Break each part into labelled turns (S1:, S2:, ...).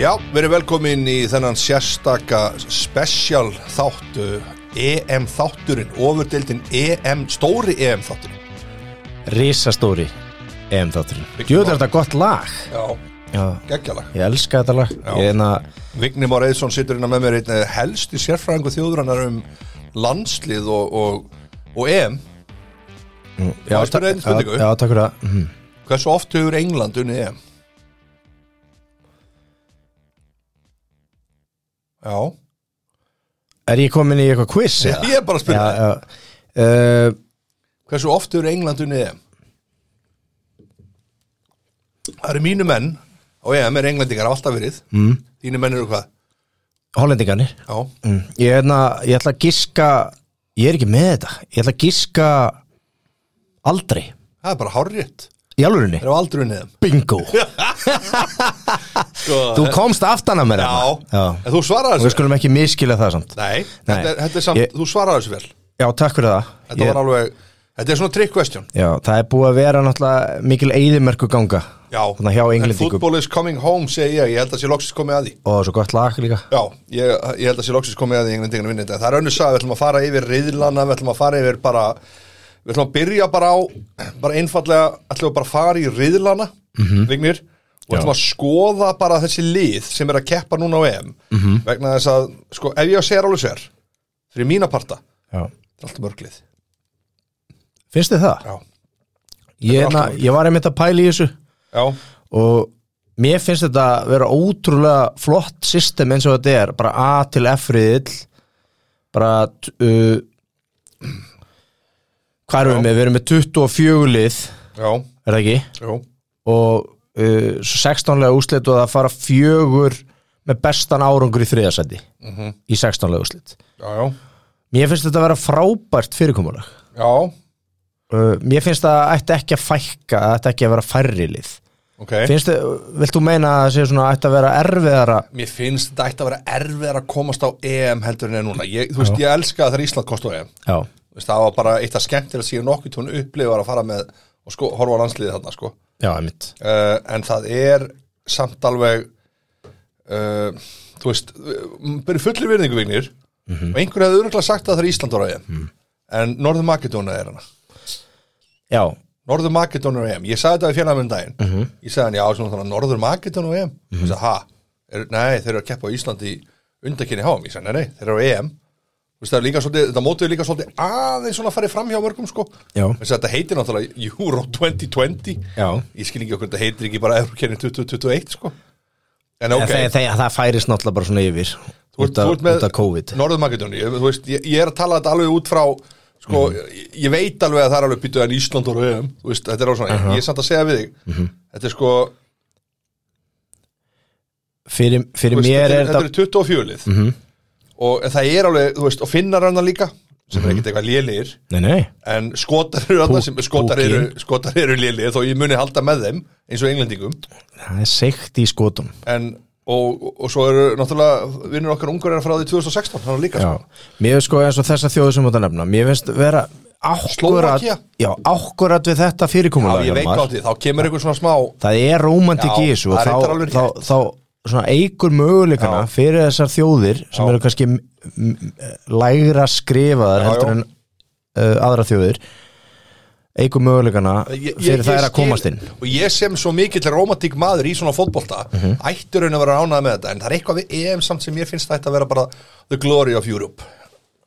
S1: Já, verið velkomin í þennan sérstaka special þáttu EM þátturinn, ofurdeildin EM, stóri EM þátturinn.
S2: Rísastóri EM-þátturinn
S1: Byggjum
S2: Jú,
S1: á-
S2: þetta er þetta gott lag
S1: Já,
S2: Já,
S1: geggjalag.
S2: ég elska þetta lag
S1: Já.
S2: Ég hérna- er enna
S1: Vigni Már Eðsson situr innan með mér einn eh, helsti sérfræðingu þjóðrannar um landslið og, og, og E EM.
S2: Mm. Já,
S1: Má ég spyrja
S2: ta-
S1: einni spurningu?
S2: já, já, takk fyrir það Mhm.
S1: Hversu oft hefur England unnið E EM? Já,
S2: Er ég komin í eitthvað quiz? eða?
S1: ég er bara að
S2: já,
S1: spyrja.
S2: já. Uh,
S1: Hversu oft hefur England unnið EM? Það eru mínu menn á EM er englendingar hafa alltaf verið mm. Þínu menn eru hvað?
S2: Hollendingarnir
S1: Já,
S2: mm. ég, er enna, ég ætla að giska Ég er ekki með þetta Ég ætla að giska aldrei
S1: það er bara hárrétt
S2: Í alvörinni
S1: Þeir hafa aldrei unnið EM
S2: Bingo
S1: sko,
S2: Þú komst aftan að mér
S1: Já,
S2: þarna. já.
S1: en þú svaraði
S2: Og Við
S1: þessu vel
S2: skulum ekki miskila það samt
S1: Nei,
S2: Nei.
S1: Þetta, er, þetta er samt,
S2: Ég-
S1: þú svaraði þessu vel
S2: Já, takk fyrir það
S1: Þetta var alveg, þetta er svona trick question
S2: Já, það er búið að vera náttúrulega mikil eyðimerku ganga
S1: Já,
S2: Þannig hjá
S1: en
S2: englendingum
S1: football is coming home segi ég, ég held að sé loksins komið að því
S2: og það er svo gott lag líka
S1: Já, ég, ég held að sé loksins komið að því englendingan vinni þetta. En Það er önnur sað, við ætlum að fara yfir riðlana, við ætlum að fara yfir bara, við ætlum að byrja bara á, bara einfallega, ætlum við bara að fara í riðlana, Vignir, og
S2: Já.
S1: ætlum að skoða bara þessi lið sem er að keppa núna á EM, vegna þess að, sko, ef ég að segja alveg sér, fyrir mína parta, það
S2: Já.
S1: er alltaf mörglið.
S2: Finnst þið það?
S1: Já,
S2: Ég,
S1: er
S2: na,
S1: alltaf-
S2: ég var einmitt að pæla í þessu
S1: já,
S2: og mér finnst þetta vera ótrúlega flott system eins og þetta er bara A til F riðill bara t- uh, hvað erum við með? Við erum með 24 lið er
S1: já,
S2: það ekki?
S1: já,
S2: og uh, svo 16 lega úslit og það fara fjögur með bestan árangur í þriðasæti í 16 lega úslit
S1: já, já,
S2: Mér finnst þetta vera frábært fyrirkomulag
S1: já,
S2: Uh, mér finnst að það ætti ekki að fækka það ætti ekki að vera færri lið
S1: ok.
S2: finnst þið, vilt þú meina að það sé svona ætti að vera erfiðara
S1: Mér finnst þetta ætti að vera erfið að komast á EM heldur en er núna. Ég, þú veist, ég elska þegar Ísland komst á EM.
S2: já,
S1: Þú veist, það var bara eitt af skemmtilega síðan nokkuð tón upplifar að fara með og sko, horfa á landsliðið þarna sko.
S2: já, einmitt
S1: uh, en það er samt alveg uh, þú veist uh, byrju fullir virðingu vignir og einhvern hefði örgulega sagt að það er Ísland ára EM en Norður Makedóna er hana
S2: já,
S1: Norður Makedóna er EM, ég sagði þetta við félagum um daginn ég sagði hann, já, svona, þannig, Norður Makedóna og EM mm -hmm. sagði, ha, er, nei, þeir eru að keppa á Íslandi í undakinni háum, ég sagði, nei, nei, þeir eru á EM Þú veist, það er líka svolítið, þetta mótið er líka svolítið aðeins svona farið fram hjá mörgum sko
S2: Já.
S1: Þess að þetta heitir náttúrulega Euro 2020
S2: já
S1: Ég skil ekki okkur, þetta heitir ekki bara Eurokenni 2021 sko En
S2: okay.
S1: ok,
S2: það, það, það færist náttúrulega bara svona yfir
S1: þú
S2: út af, út af COVID
S1: Norðumakedóni, ég, þú veist, ég, ég er að tala þetta alveg út frá sko,
S2: Mhm.
S1: ég, ég veit alveg að það er alveg býtuð en Ísland og Röðum, þú veist, þetta er alveg svona ég er samt að segja við þig,
S2: Mhm.
S1: þetta er sko
S2: fyrir,
S1: þú
S2: fyrir
S1: veist,
S2: mér
S1: þetta,
S2: er Mhm.
S1: þetta
S2: þetta
S1: er 24 lið og en það er alveg, þú veist, og finnar hann líka sem
S2: Mhm.
S1: er ekkert eitthvað lélir
S2: nei, nei,
S1: en skotar eru þarna sem skotar
S2: Púkin.
S1: eru, skotar eru lélir þó ég muni halda með þeim eins og englendingum
S2: það er seikt í skotum
S1: en, og, og, og svo eru náttúrulega vinnur okkar ungur er frá því 2016 hann er líka
S2: já, mér finnst sko eins og þessa þjóðu sem þú ert að nefna mér finnst vera ákkurat
S1: Slóvakía?
S2: já, ákkurat við þetta
S1: Já,
S2: fyrirkomulag
S1: ég veit átti, þá kemur einhver svona smá
S2: það er rómantik
S1: Já,
S2: í þessu og
S1: það er reyndar
S2: þá,
S1: alveg
S2: þá, þá svona eigur möguleikana
S1: Já.
S2: fyrir þessar þjóðir sem
S1: Já.
S2: eru kannski m- m- lægra skrifaðar
S1: Já,
S2: heldur
S1: já.
S2: en uh, aðra þjóðir eigur möguleikana
S1: Ég- ég-
S2: fyrir
S1: ég
S2: þær að
S1: skil-
S2: komast inn
S1: Og ég sem svo mikill romantík maður í svona fótbolta
S2: Mhm.
S1: ættur henni að vera ánægð með þetta en það er eitthvað við EM samt sem ég finnst þetta að vera bara the glory of Europe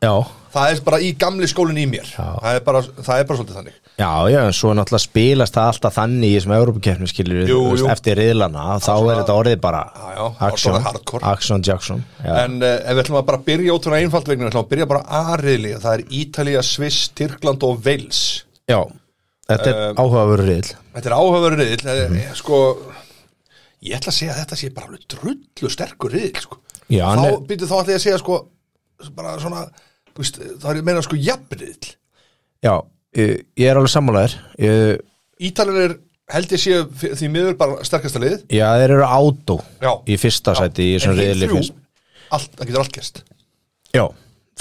S2: já,
S1: Það er bara í gamli skólinn í mér það er, bara, það er bara svolítið þannig
S2: já, já, en svo náttúrulega spilast það alltaf þannig í þessum Európa-keppnum skilur
S1: Jú, jú.
S2: eftir riðlana, þá er þetta orðið bara
S1: Já, já, það er
S2: action,
S1: orðið hardcore.
S2: action, Jackson já,
S1: En uh, ef við ætlum að bara byrja út úr einfalt vegna, við ætlum að byrja bara aðriðli það er Ítalía, Sviss, Tyrkland og Wales
S2: já þetta
S1: eh,
S2: er um, áhugaveru riðl
S1: Þetta er áhugaverður riðil
S2: Mhm.
S1: mm. sko, ég ætla að segja að þetta sé bara alveg drullu sterkur riðil sko.
S2: Já, hann
S1: þá,
S2: er-
S1: býtu, þá ætla ég að segja sko, bara svona þú veist, þá er ég að meina sko jafnriðil
S2: já, ég, ég er alveg sammálaður ég,
S1: Ítalinn er held ég séu f- því miður bara sterkasta liðið
S2: já, þeir eru átó
S1: Já.
S2: í fyrsta sæti í
S1: en
S2: svona
S1: hitt
S2: riðli
S1: þrjú,
S2: fyrst
S1: allt, það getur allt gerst
S2: Já,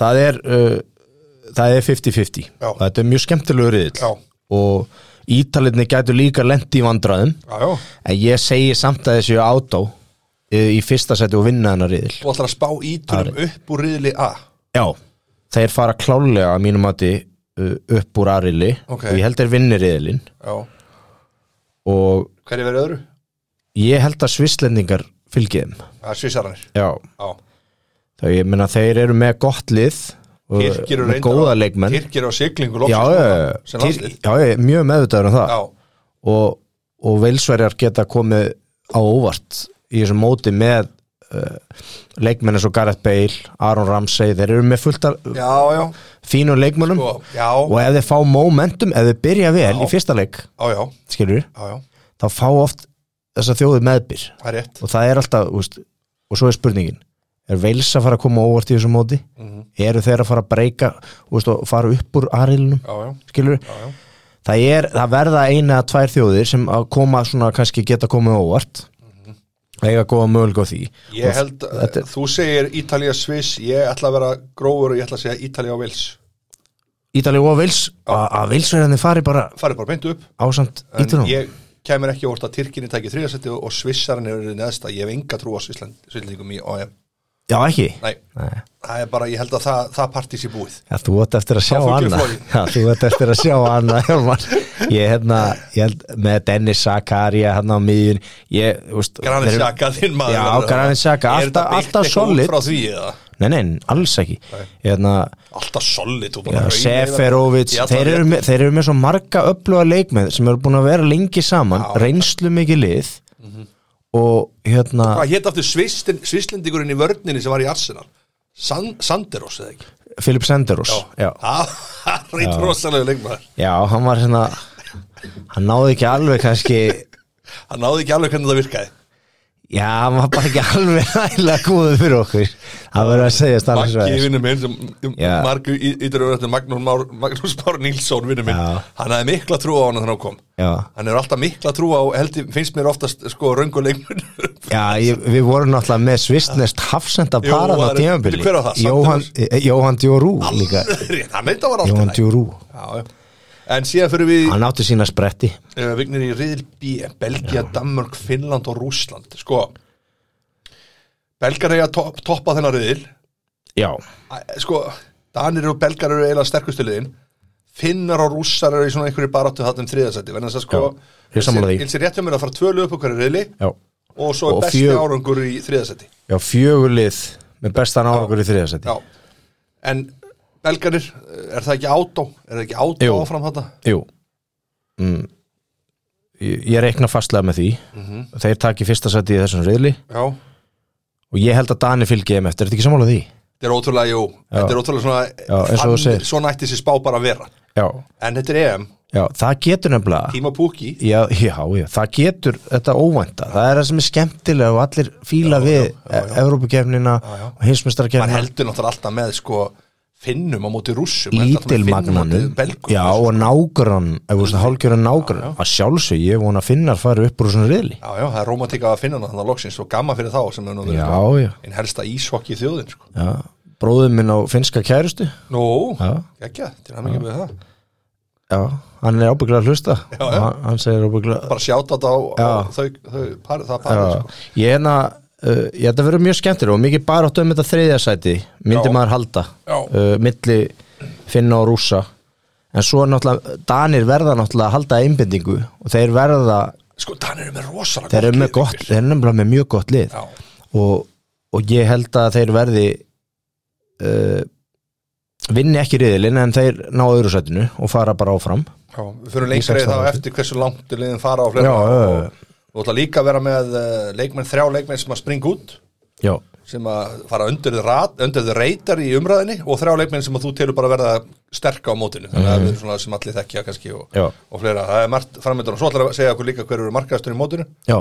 S2: það er uh, það er 50-50
S1: Já.
S2: þetta er mjög skemmtilegu riðil
S1: Já.
S2: og ítaliðni gætu líka lendi í vandræðum
S1: já, já,
S2: en ég segi samt að þessi átó uh, í fyrsta seti og vinna hennar riðil
S1: Þú ætlar að spá ítunum upp úr riðli A
S2: Já, þeir fara klálega að mínum mati uh, upp úr aðrili
S1: Ok.
S2: og ég held þeir vinni riðilinn
S1: Já,
S2: og
S1: hverju verið öðru?
S2: ég held að svisslendingar fylgi þeim
S1: Það er svissaranir
S2: Já,
S1: Já,
S2: þá ég meina þeir eru með gott lið og
S1: Tyrkir eru
S2: með
S1: reyndar
S2: góða
S1: á-
S2: leikmenn
S1: Tyrkir á siglingu
S2: Já,
S1: loksins núna,
S2: já,
S1: sem
S2: Tyr-
S1: landslið
S2: já, ég er mjög meðvitaður um það
S1: Já,
S2: og, og veilsverjar geta komið á óvart í þessum móti með uh, leikmenn eins og Gareth Bale, Aaron Ramsey þeir eru með fullt af
S1: já, já,
S2: fínum leikmennum
S1: sko, já,
S2: og ef þeir fá momentum, ef þeir byrja vel
S1: Já.
S2: í fyrsta leik,
S1: já, já,
S2: skilur við
S1: já, já,
S2: þá fá oft þessa þjóði meðbyr
S1: það er rétt
S2: og það er alltaf, þú veist, og svo er spurningin er Veils að fara að koma á óvart í þessu móti
S1: Mhm.
S2: eru þeir að fara að breyka þú veist, og fara upp úr arilunum
S1: Já, já,
S2: skilur,
S1: já, já,
S2: það er það verða eina að tvær þjóðir sem að koma svona kannski geta komið á óvart eiga góða mögulega á því
S1: Mhm. Ég held,
S2: þetta
S1: þú segir Ítalía Sviss, ég ætla að vera grófur og ég ætla að segja Ítalía og Vils
S2: Ítalíu og Veils að að Veilsverðinni fari bara
S1: Farið bara beint upp
S2: ásamt
S1: En
S2: Ítalíu
S1: ég kemur ekki óvart að Tyrkinni tæki þriðasetti og Svissarinn eru neðsta Ég hef enga trú á Svisslendingum í OM
S2: já ekki
S1: Nei,
S2: Nei.
S1: það er bara, ég held að það, það partís í búið
S2: Já, þú ert eftir að sjá
S1: fugl í
S2: annað
S1: flogið.
S2: Já, þú ert eftir að sjá annað Hjálmar. Ég hérna, ég held með Dennis Zakaria hann á miðjun ég, úst,
S1: Granit Xhaka, þinn maður
S2: Já,
S1: verður að-
S2: Granit Xhaka,
S1: Er þetta
S2: alltaf-
S1: byggt
S2: alltaf
S1: eitthvað
S2: solid.
S1: út frá því eða?
S2: Nei, nei, alls ekki hérna,
S1: Alltaf solid þú bara
S2: já,
S1: raunir
S2: Seferovic
S1: þetta. Ég ætla
S2: þeir
S1: að-
S2: eru, með, þeir eru með svo marga öfluga leikmenn sem eru búin að vera lengi saman
S1: Já. Mhm.
S2: reynslu mikið lið og hérna
S1: Hvað hétt aftur svistin, svislendingurinn í vörninni sem var í Arsenal? San, Sanderos eða ekki?
S2: Filip Senderos já.
S1: Það það er eitt rosalega leikmaður
S2: já, hann var hérna hann náði ekki alveg kannski
S1: Hann náði ekki alveg hvernig það virkaði
S2: Já, hann var bara ekki alveg nægilega góður fyrir okkur Það verður að segja stannins
S1: Maggi
S2: vegar
S1: vinnur minn sem um-
S2: Já.
S1: margu yttur og þetta Magnús Már, Magnús Már Nílsson vinnur minn
S2: Já.
S1: Hann hafði mikla trú á hann þegar hann kom
S2: Já,
S1: Hann hefur alltaf mikla trú á, held, ég- finnst mér oftast sko rönguleikmun
S2: já ég, við vorum náttúrulega með svistnest hafsenda
S1: Jú,
S2: parað á
S1: var-
S2: tímabili
S1: Hver var það?
S2: Jóhann, eh, Jóhann Djórú líka
S1: Hann veit að var alltaf
S2: Jóhann Djórú
S1: Já, já. En síðan fyrir við
S2: Hann átti sína spretti
S1: uh, vignir í riðil B Belgia, Danmörk, Finnland og Rússland Sko Belgar eiga að top, toppa þennan riðil
S2: Já,
S1: Æ, Sko, Danir og Belgar eru eiginlega sterkustu liðin Finnar og Rússar eru í svona einhverju baráttu þarna um þriðasæti Verðan þess að sko
S2: Já, ég er sammála því.
S1: Ilsi rétt hjá mér að fara tvö lög upp okkar riðli
S2: já,
S1: Og svo
S2: Og
S1: er besti
S2: fjö-
S1: árangur í þriðasæti
S2: já fjögurlið með bestan árangur í þriðasæti
S1: Já En Belgarnir, er það ekki átó? Er það ekki átó
S2: Jú.
S1: áfram þetta?
S2: Jú mm. Ég ég reikna fastlega með því
S1: Mhm.
S2: Þeir taki fyrsta sæti í þessum reyðli
S1: Já
S2: og ég held að Dani fylgi þeim eftir, er þetta ekki sammála því?
S1: Þetta er ótrúlega, jú, þetta er ótrúlega svona
S2: Já, eins og þú segir.
S1: Svona ætti þessi spá bara að vera
S2: Já,
S1: En þetta er EM,
S2: já það getur nefnilega
S1: tíma púki
S2: Já, já, já, það getur þetta óvænta, það er það sem er skemmtilega og allir fíla við Evrópukefnina og
S1: Man
S2: hinsmestarkefnina
S1: heldur náttúrulega alltaf með sko finnum á móti rússum maður heldur alltaf með Finnum á móti
S2: lítilmagnanum
S1: Belgum. sko.
S2: já, og nágrann, ef þú veist að hálfgjörðan nágrann að sjálfsög, ég vona að finnar fari upp úr svona riðli
S1: já, já, það er rómatíka að finna þannig að loksins og gamma fyrir þá sem er nú verið
S2: Já,
S1: sko,
S2: já.
S1: einn helsta íshokki í þjóðin sko.
S2: já, bróðum minn á finska kærustu
S1: Nú,
S2: Já.
S1: ekki, til hann ekki með það
S2: já, hann er ábygglega að hlusta
S1: Já, já.
S2: Hann, hann segir ábygglega
S1: Bara sjáta þetta á, á þau, þau par, það parið
S2: já,
S1: sko.
S2: ég hérna uh, ég þetta verður mjög skemmtilega og mikið bara áttu um þetta þriðjasæti, myndi
S1: Já.
S2: maður halda
S1: Já,
S2: uh, milli finna og rúsa en svo náttúrulega Danir verða náttúrulega að halda einbendingu og þeir verða,
S1: sko, þannig eru með rosalega
S2: þeir eru
S1: gott
S2: með
S1: lið,
S2: gott
S1: Birgir.
S2: þeir eru nefnilega með mjög gott lið
S1: Já,
S2: og, og ég held að þeir verði uh, vinni ekki riðilinn en þeir ná öðru sætinu og fara bara áfram
S1: já, við fyrir
S2: Í
S1: lengra í
S2: sextán
S1: þá
S2: ára.
S1: eftir hversu langt er liðin fara á
S2: já,
S1: fleira
S2: já,
S1: og þú ætla líka að vera með eh, leikmenn, þrjá leikmenn sem að springa út
S2: já,
S1: sem að fara undir þið reytar í umræðinni og þrjá leikmenn sem að þú telur bara verða sterk á mótinu þannig að það er svona sem allir þekkja kannski og,
S2: Mhm. Já.
S1: og fleira, það er margt framöndan og svo ætlar að segja okkur líka hver eru markaðastur í mótinu
S2: já,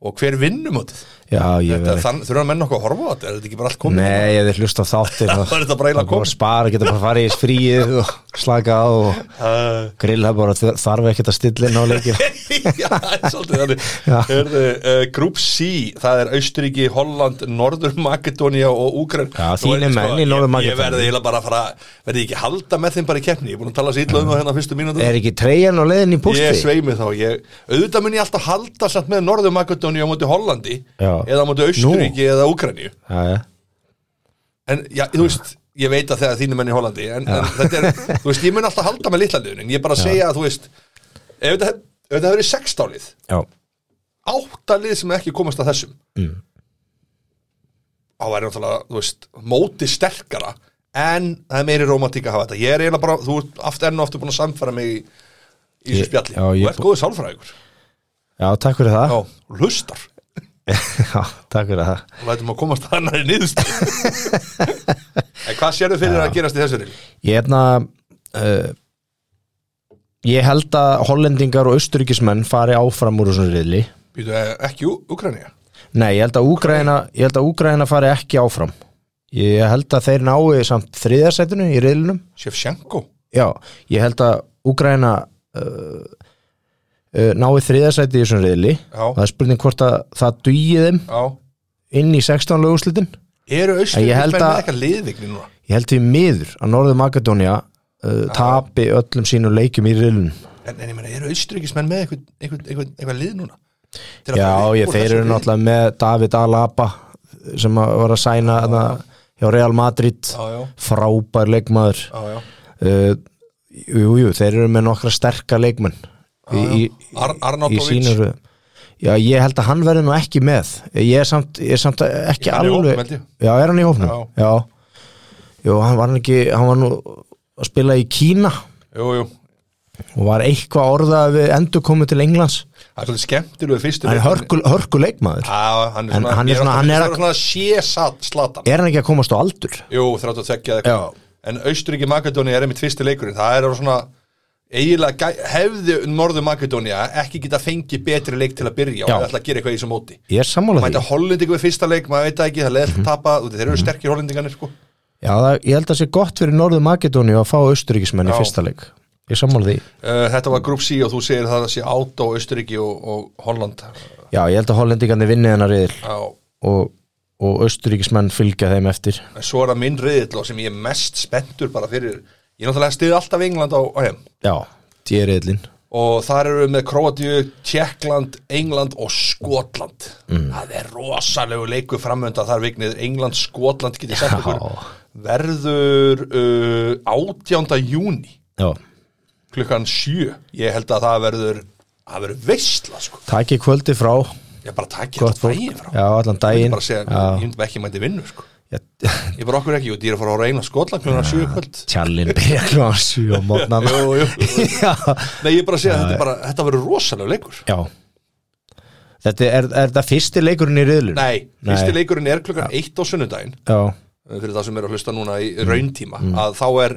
S1: og hver vinnur mótið
S2: já ég
S1: Þetta-
S2: verði
S1: þann þurfa menn okkur að horfa á þetta, er þetta ekki bara allt komið
S2: Nei, ég þið hlusta á þáttir
S1: Það er þetta bara eiginlega
S2: og
S1: komið.
S2: spara, geta bara farið í fríið og slaka á og
S1: Uh,
S2: grilla bara, þarf ekkert að stilla inn á leikir
S1: já, það er svolítið þannig
S2: Já.
S1: Hörðu, uh, Group C það er Austuríki, Holland, Norður Makedónia og Úgræn Nú
S2: Já,
S1: er
S2: þínir
S1: ég,
S2: menn í Norður-Makedóníu.
S1: Ég, ég verði eiginlega bara að fara, verði ekki að halda með þeim bara í keppni, ég er búin að tala sér illa um það hérna á fyrstu
S2: Eh,
S1: mínútu
S2: Er ekki treyjan á leiðin í pústi?
S1: Ég sveimi þá, ég, auðvitað mun ég alltaf halda samt með Norður Makedóníu á móti Hollandi
S2: Já.
S1: eða á móti Austuríki eða Úkraníu
S2: já, já.
S1: en já, þú veist, ég veit að þegar þínu menn í Hollandi en, en þetta er, þú veist, ég mun alltaf halda með litlandiðun en ég bara segja að, þú veist ef þetta, ef þetta hefur sextálið
S2: já,
S1: áttalið sem ekki komast að þessum mm. á er náttúrulega, þú veist, móti sterkara en það er meiri romantík að hafa þetta ég er eiginlega bara, þú ert aftur enn og aftur búin að samfæra mig í í þessu
S2: Ég-
S1: spjalli
S2: já,
S1: og
S2: ég
S1: ert góður sálfræðingur
S2: já, takk fyrir það
S1: já, hlustar,
S2: já, takk fyrir það
S1: og lætum að komast að annari niðurstu en hvað sérðu fyrir að gerast í þessu reyli?
S2: Ég hefna uh, Ég held að hollendingar og austuríkismenn fari áfram úr þessum riðli
S1: Býtu, eh, ekki Ukraina
S2: Nei, ég held að Úgræna, ég held að Úgræna fari ekki áfram Ég held að þeir nái samt þriðarsætinu í riðlinum
S1: Shevchenko
S2: Já, ég held að Úgræna uh, uh, nái þriðarsæti í þessum riðli
S1: Já.
S2: Það er spurning hvort að það dugið þeim
S1: Já.
S2: inn í 16 lögúslitin
S1: Eru
S2: En
S1: austuríkismenn
S2: ég held
S1: með
S2: að-
S1: eitthvað liðvigni núna?
S2: Ég held því miður að Norður Makedónia uh, tapi öllum sínum leikjum í riðlinum
S1: En, en ég meina, eru austuríkismenn með eitthvað, eitthvað, eitthvað, eitthvað lið núna? Til að
S2: Já,
S1: fara upp
S2: ég,
S1: úr
S2: þeir
S1: þessu
S2: eru
S1: riðli?
S2: náttúrulega með David Alaba sem að var að sæna þarna hjá Real Madrid
S1: Já, já,
S2: frábær leikmaður
S1: já, já.
S2: uh, jú, jú, þeir eru með nokkra sterka leikmenn í, í,
S1: Ar
S2: í
S1: Arnautovic
S2: sínum röðum. Já, ég held að hann verður nú ekki með ég er samt, ég er samt ekki
S1: Er hann í
S2: alveg
S1: hópnum, held ég?
S2: Já, er hann í hópnum? Já, Jú, hann var, hann ekki, hann var nú að spila í Kína
S1: Jú, jú,
S2: og var eitthvað orðað við endur komið til Englands
S1: það er svolítið skemmtilegu fyrstu
S2: en
S1: leikmann.
S2: hörku, hörku leikmaður
S1: Já, hann er
S2: En
S1: svona,
S2: hann er
S1: ég
S2: svona- hann er
S1: alltaf-
S2: að-
S1: ég svona sé satt slatan
S2: er hann ekki að komast á aldur?
S1: Jú, 32 eða
S2: Já.
S1: eitthvað En Austuríki Makedóni er einmitt fyrsti leikurinn Það er svona eiginlega gæ- hefði Norður Makedónia ekki geta fengið betri leik til að byrja og
S2: Já.
S1: það ætla að gera eitthvað í þessu móti
S2: Ég er sammála því Mhm.
S1: Mæta hollendingu við fyrsta leik, maður veit það ekki, það leðt að tapa þú veit, Þeir eru sterkir hollendingarnir sko
S2: Já, það, ég held að sé gott fyrir Norður Makedóni að fá austuríkismenn í
S1: Já.
S2: fyrsta leik Ég er sammála því
S1: Uh, þetta var grúp sí og þú segir það að sé át á Austuríki og, og Holland
S2: Já, ég held að hollendingarnir vinni þennar riðil
S1: á,
S2: og, og austuríkismenn fylgja þeim eftir
S1: en svo er það minn reyðill og sem ég er mest spenntur bara fyrir ég náttúrulega stiði alltaf England á, á heim
S2: Já, því er riðlin
S1: og þar eru við með Kroatíu, Tjekkland, England og Skotland
S2: Mm.
S1: það er rosalegu leiku framönda þar vignið England, Skotland getið sagt
S2: Já.
S1: okkur verður uh, 18. júni
S2: Já,
S1: klukkan 7 ég held að það verður það verður veistla sko
S2: takk ég kvöldi frá
S1: ég bara takk
S2: Gott
S1: ég
S2: fólk
S1: daginn frá
S2: Já, allan
S1: ég myndi
S2: daginn
S1: bara segja, ég
S2: Já,
S1: myndi ekki mæti vinnu sko
S2: ég-
S1: ég bara okkur ekki, út, ég er að fara á reyna Skotland klukkan 7 í kvöld
S2: Tjallinn byrja klóðan 7 á mótnan
S1: Jú, jú.
S2: Já,
S1: Nei, ég er bara að segja að þetta, er bara, þetta verður rosalega leikur
S2: já Þetta er, er það fyrsti leikurinn í riðlun?
S1: Nei, fyrsti leikurinn er klukkan eitt á sunnudaginn
S2: Já,
S1: uh, fyrir það sem er að hlusta núna í rauntíma að þá er,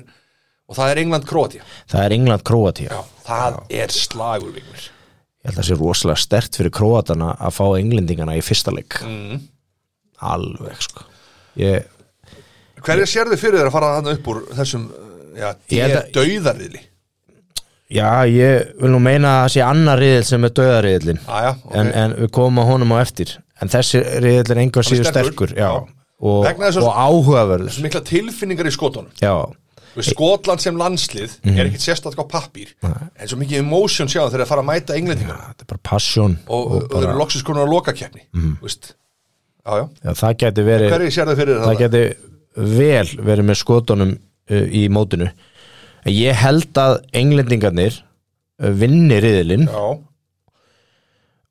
S1: og það er England-Króatía
S2: það er England-Króatía
S1: það er slagur vikur
S2: ég held að það sé rosalega stert fyrir króatana að fá englendingana í fyrsta leik alveg sko Mm. ég,
S1: Hverja sérðu fyrir þér að fara þarna upp úr þessum, uh, já,
S2: Ég held
S1: ég
S2: að-
S1: dauðarriðli
S2: já, ég vil nú meina að það sé annar riðil sem er döðariðilin
S1: Aja, ok
S2: en, en við komum að honum á eftir en þessi riðil er enga síður
S1: sterkur.
S2: sterkur já,
S1: Já.
S2: og,
S1: Vegna þess að-
S2: og áhugaverður
S1: Svo mikla tilfinningar í skotunum
S2: já,
S1: Við Skotland sem landslið er ekkit sérstaklega á pappír en svo mikið emotion sjáðum þegar þeir fara að mæta englendingar
S2: þetta er bara passion
S1: og, og, þeir eru loksins konar að loka keppni mm. veist, já, já
S2: já, það geti verið
S1: Hverju sérðu fyrir þér
S2: það
S1: þarna?
S2: geti vel verið með skotunum uh, í mótinu En ég held að englendingarnir uh, vinni riðilinn
S1: Já,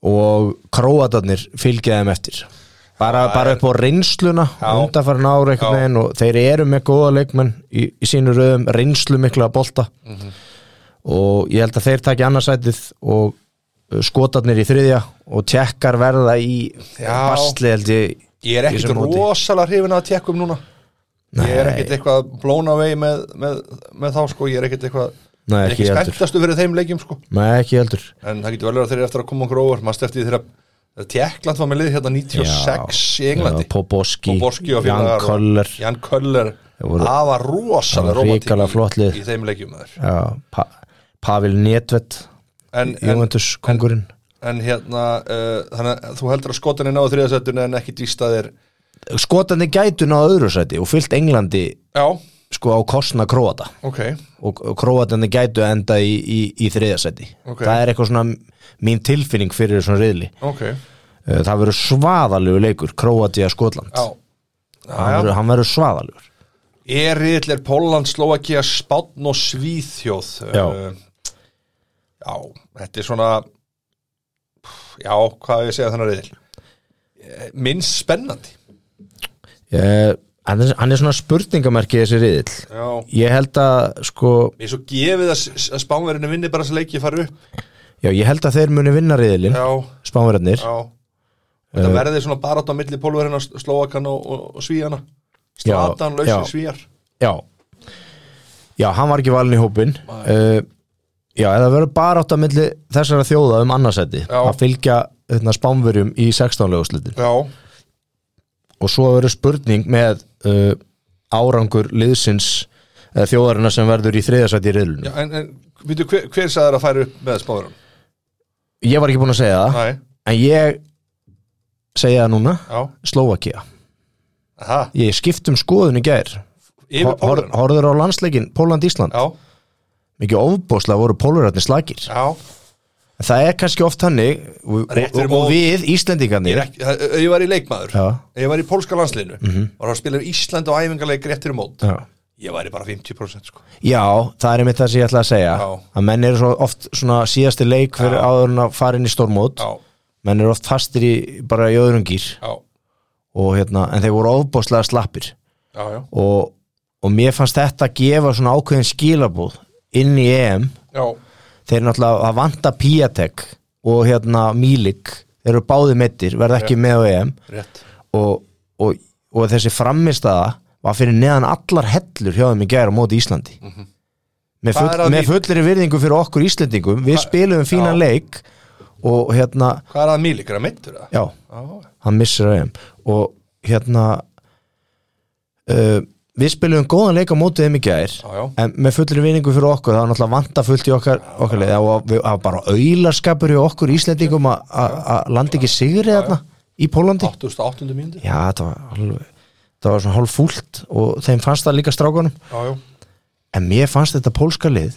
S2: og króatarnir fylgja þeim eftir bara, bara upp á reynsluna undanfærin ára einhvern
S1: Já.
S2: veginn og þeir eru með góða leikmenn í, í sínu röðum reynslu mikla að bolta
S1: Mhm.
S2: og ég held að þeir taki annarsætið og uh, skotarnir í þriðja og tjekkar verða í
S1: Já.
S2: bastli held ég
S1: Ég er
S2: í þessu
S1: ekkit
S2: móti.
S1: rosalega hrifin að tekkum núna Ég er ekkit eitthvað blown away með, með, með þá sko Ég er ekkit eitthvað
S2: Nei,
S1: ég er
S2: ekki
S1: ekki
S2: heldur.
S1: spenntastu fyrir þeim leikjum sko
S2: Nei, ekki heldur
S1: En það getur vel verið að þeir eru eftir að koma okkur óvar Maður stefti þeirra þegar Tékkland var með lið hérna 96 í Englandi
S2: Já, Poboski,
S1: Poborski og
S2: Jan
S1: félagar og-
S2: Koller
S1: Jan Köller
S2: voru-
S1: Það var rosalega
S2: það var
S1: rómantík
S2: hrikalega flott lið.
S1: í, í þeim leikjum maður.
S2: já, pa Pavel Nedved
S1: en, en,
S2: Jóventus kongurinn
S1: en hérna uh, Þannig að þú heldur að skotinni náðu þriðasættun En ekki dýstaðir
S2: skotarnir gætu ná öðru sæti og fyllt Englandi
S1: Já,
S2: sko á kostna króata
S1: ok
S2: og króatinni gætu enda í, í, í þriðasæti
S1: Ok.
S2: það er eitthvað svona mín tilfinning fyrir svona riðli
S1: Ok,
S2: Eh, það verður svaðalegu leikur Króatia Skotland
S1: Já,
S2: hann, verður, hann verður svaðalegur
S1: Erill er Póland, Slovakia, Spátn og Svíþjóð
S2: Já.
S1: Eh, Já, þetta er svona Já, hvað á ég að segja þannig reyðil Minnst spennandi
S2: Eh, hann er, hann er svona spurningamerki þessi riðill
S1: Já
S2: ég held að sko,
S1: Mér er svo gefið að, að spánverðinu vinni bara þess að leikið fara upp
S2: já ég held að þeir muni vinna riðilinn,
S1: Já,
S2: spánverðarnir
S1: já Þetta
S2: Eh.
S1: verði svona barátt á milli pólverðina Slóakan og, og, og Svíjana Stratan,
S2: já.
S1: lausir Svíjar
S2: já já, hann var ekki valin í hópin uh, já, eða verður bara átt að milli þessara þjóða um annarsæti
S1: Já.
S2: að fylgja hérna, spánverjum í 16 löguslutin
S1: Já,
S2: og svo verður spurning með uh, árangur liðsins eða þjóðarina sem verður í þriðasæti í riðlunum
S1: já en, en veitu, hver, hver sagði að færa upp með spánverðum?
S2: ég var ekki búin að segja það
S1: Næ,
S2: en ég segja það núna
S1: já,
S2: Slovakia
S1: aha,
S2: ég skipt um skoðun í gær
S1: yfir
S2: Hor-
S1: pólverðina
S2: horfður á landsleikin Póland-Ísland
S1: Já,
S2: mikið ofbóðslega voru pólverarnir slagir
S1: já
S2: En það er kannski oft hannig og,
S1: Rétt
S2: og,
S1: fyrir
S2: og,
S1: mót.
S2: og við
S1: Ég, er
S2: Íslendingarnir
S1: ekki, það- ef ég var í leikmaður
S2: Já.
S1: ef ég var í pólska landsliðinu var að spila um Ísland og æfingarleik réttir um mót
S2: já.
S1: ég væri bara 50% sko.
S2: já, það er einmitt það sem ég ætla að segja
S1: Já.
S2: að menn eru svo oft svona síðasti leik fyrir áður en að fara inn í stórmót
S1: já,
S2: menn eru oft fastir í bara í öðrum gýr
S1: já,
S2: og hérna, en þeir voru ofbóðslega slappir
S1: já, já,
S2: og, og mér fannst þetta gefa svona ákveðin skilabóð inn í EM
S1: já,
S2: þeir náttúrulega að vanta Piatek og hérna Milik þeir eru báði meittir, verða ekki með á EM
S1: rétt
S2: og, og, og þessi frammistaða var fyrir neðan allar hellur hjá þeim í gær á móti Íslandi með,
S1: Mhm. Hvað er
S2: full,
S1: að
S2: með
S1: því-
S2: fullri virðingu fyrir okkur Íslendingum við spilum um fínan leik og hérna,
S1: hvað er að mýlíkur að myndur það?
S2: já,
S1: Já,
S2: hann missir að þeim og hérna uh, við spilum góðan leik á móti þeim í gær
S1: já, já,
S2: en með fullri vinningu fyrir okkur það var náttúrulega vanta fullt í okkar, okkar leið og við hafa bara auðlarskapur í okkur Íslendingum að- að að landa ekki sigri þarna í Pólandi
S1: 8800 mínúti
S2: já, það var alveg það var svona hálf fúlt og þeim fannst það líka strákunum
S1: já, já,
S2: en mér fannst þetta pólska lið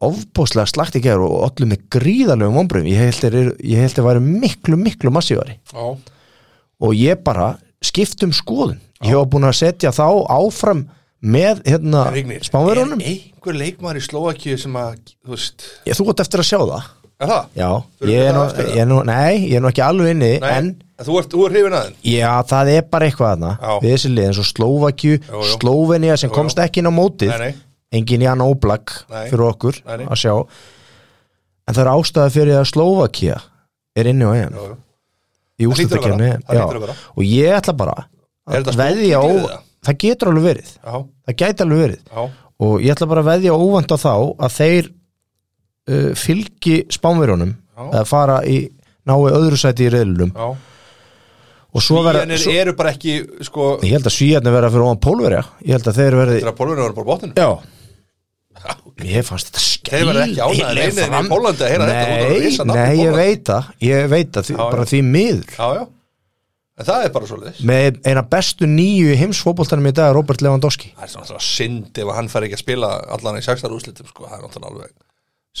S2: ofbóðslega slagt í gær og allir með gríðarlegum ombröðum ég held þeir eru- ég held þeir væri miklu, miklu massívari
S1: já,
S2: og ég bara skipt um skoðun ég var búin að setja þá áfram með hérna
S1: Rignir,
S2: spánverunum
S1: er einhver leikmaður í Slovakíu sem að, þú veist,
S2: ég, þú gott eftir að sjá það
S1: er það?
S2: já,
S1: Förum
S2: ég
S1: við
S2: er, nú,
S1: það eftir það?
S2: ég er nú nei, ég er nú ekki alveg inni
S1: Nei,
S2: en
S1: þú ert, þú ert hrifin að þeim
S2: já, það er bara eitthvað þarna
S1: Já.
S2: við þessi lið, eins og Slovakju,
S1: Jú, jú.
S2: Slovenia sem komst ekki inn á mótið
S1: Nei, nei.
S2: engin Jan Oblak
S1: Nei.
S2: fyrir okkur
S1: Nei, nei.
S2: að sjá en það er ástæða fyrir að Slovakia er inni á EM
S1: já.
S2: í
S1: Það hlýtur að vera.
S2: úrslutakefni
S1: Það hlýtur að vera.
S2: og ég ætla bara
S1: Er þetta
S2: að veðja
S1: spurning
S2: á
S1: við það?
S2: það getur alveg verið,
S1: já,
S2: það gæti alveg verið
S1: já,
S2: og ég ætla bara að veðja óvænt á þá að þeir uh, fylgi spánverjónum
S1: Já.
S2: að fara í náu öðru sæti í reðlunum
S1: já
S2: og svo vera,
S1: Svíjanir
S2: svo,
S1: eru bara ekki, sko,
S2: ég held að svíjarnir vera fyrir ofan pólverja, ég held að þeir verði
S1: þegar pólverðinu voru bara á botninu
S2: já Mér fannst þetta skeil
S1: Þeir verða ekki ánægðir
S2: heilir
S1: með þeim í
S2: fram-
S1: Póllandi að heyra þetta, þú ert að
S2: Nei,
S1: risa nafn í
S2: nei, ég
S1: Póllandi.
S2: veit það Ég veit það, því,
S1: Já, já.
S2: bara því miður
S1: Já, já, en það er bara svoleiðis
S2: Með eina bestu nýju í heimsfótboltanum í dag er Robert Lewandowski
S1: það er svona alltaf synd ef hann fær ekki að spila allan í sextar úrslitum sko, það er náttúrulega alveg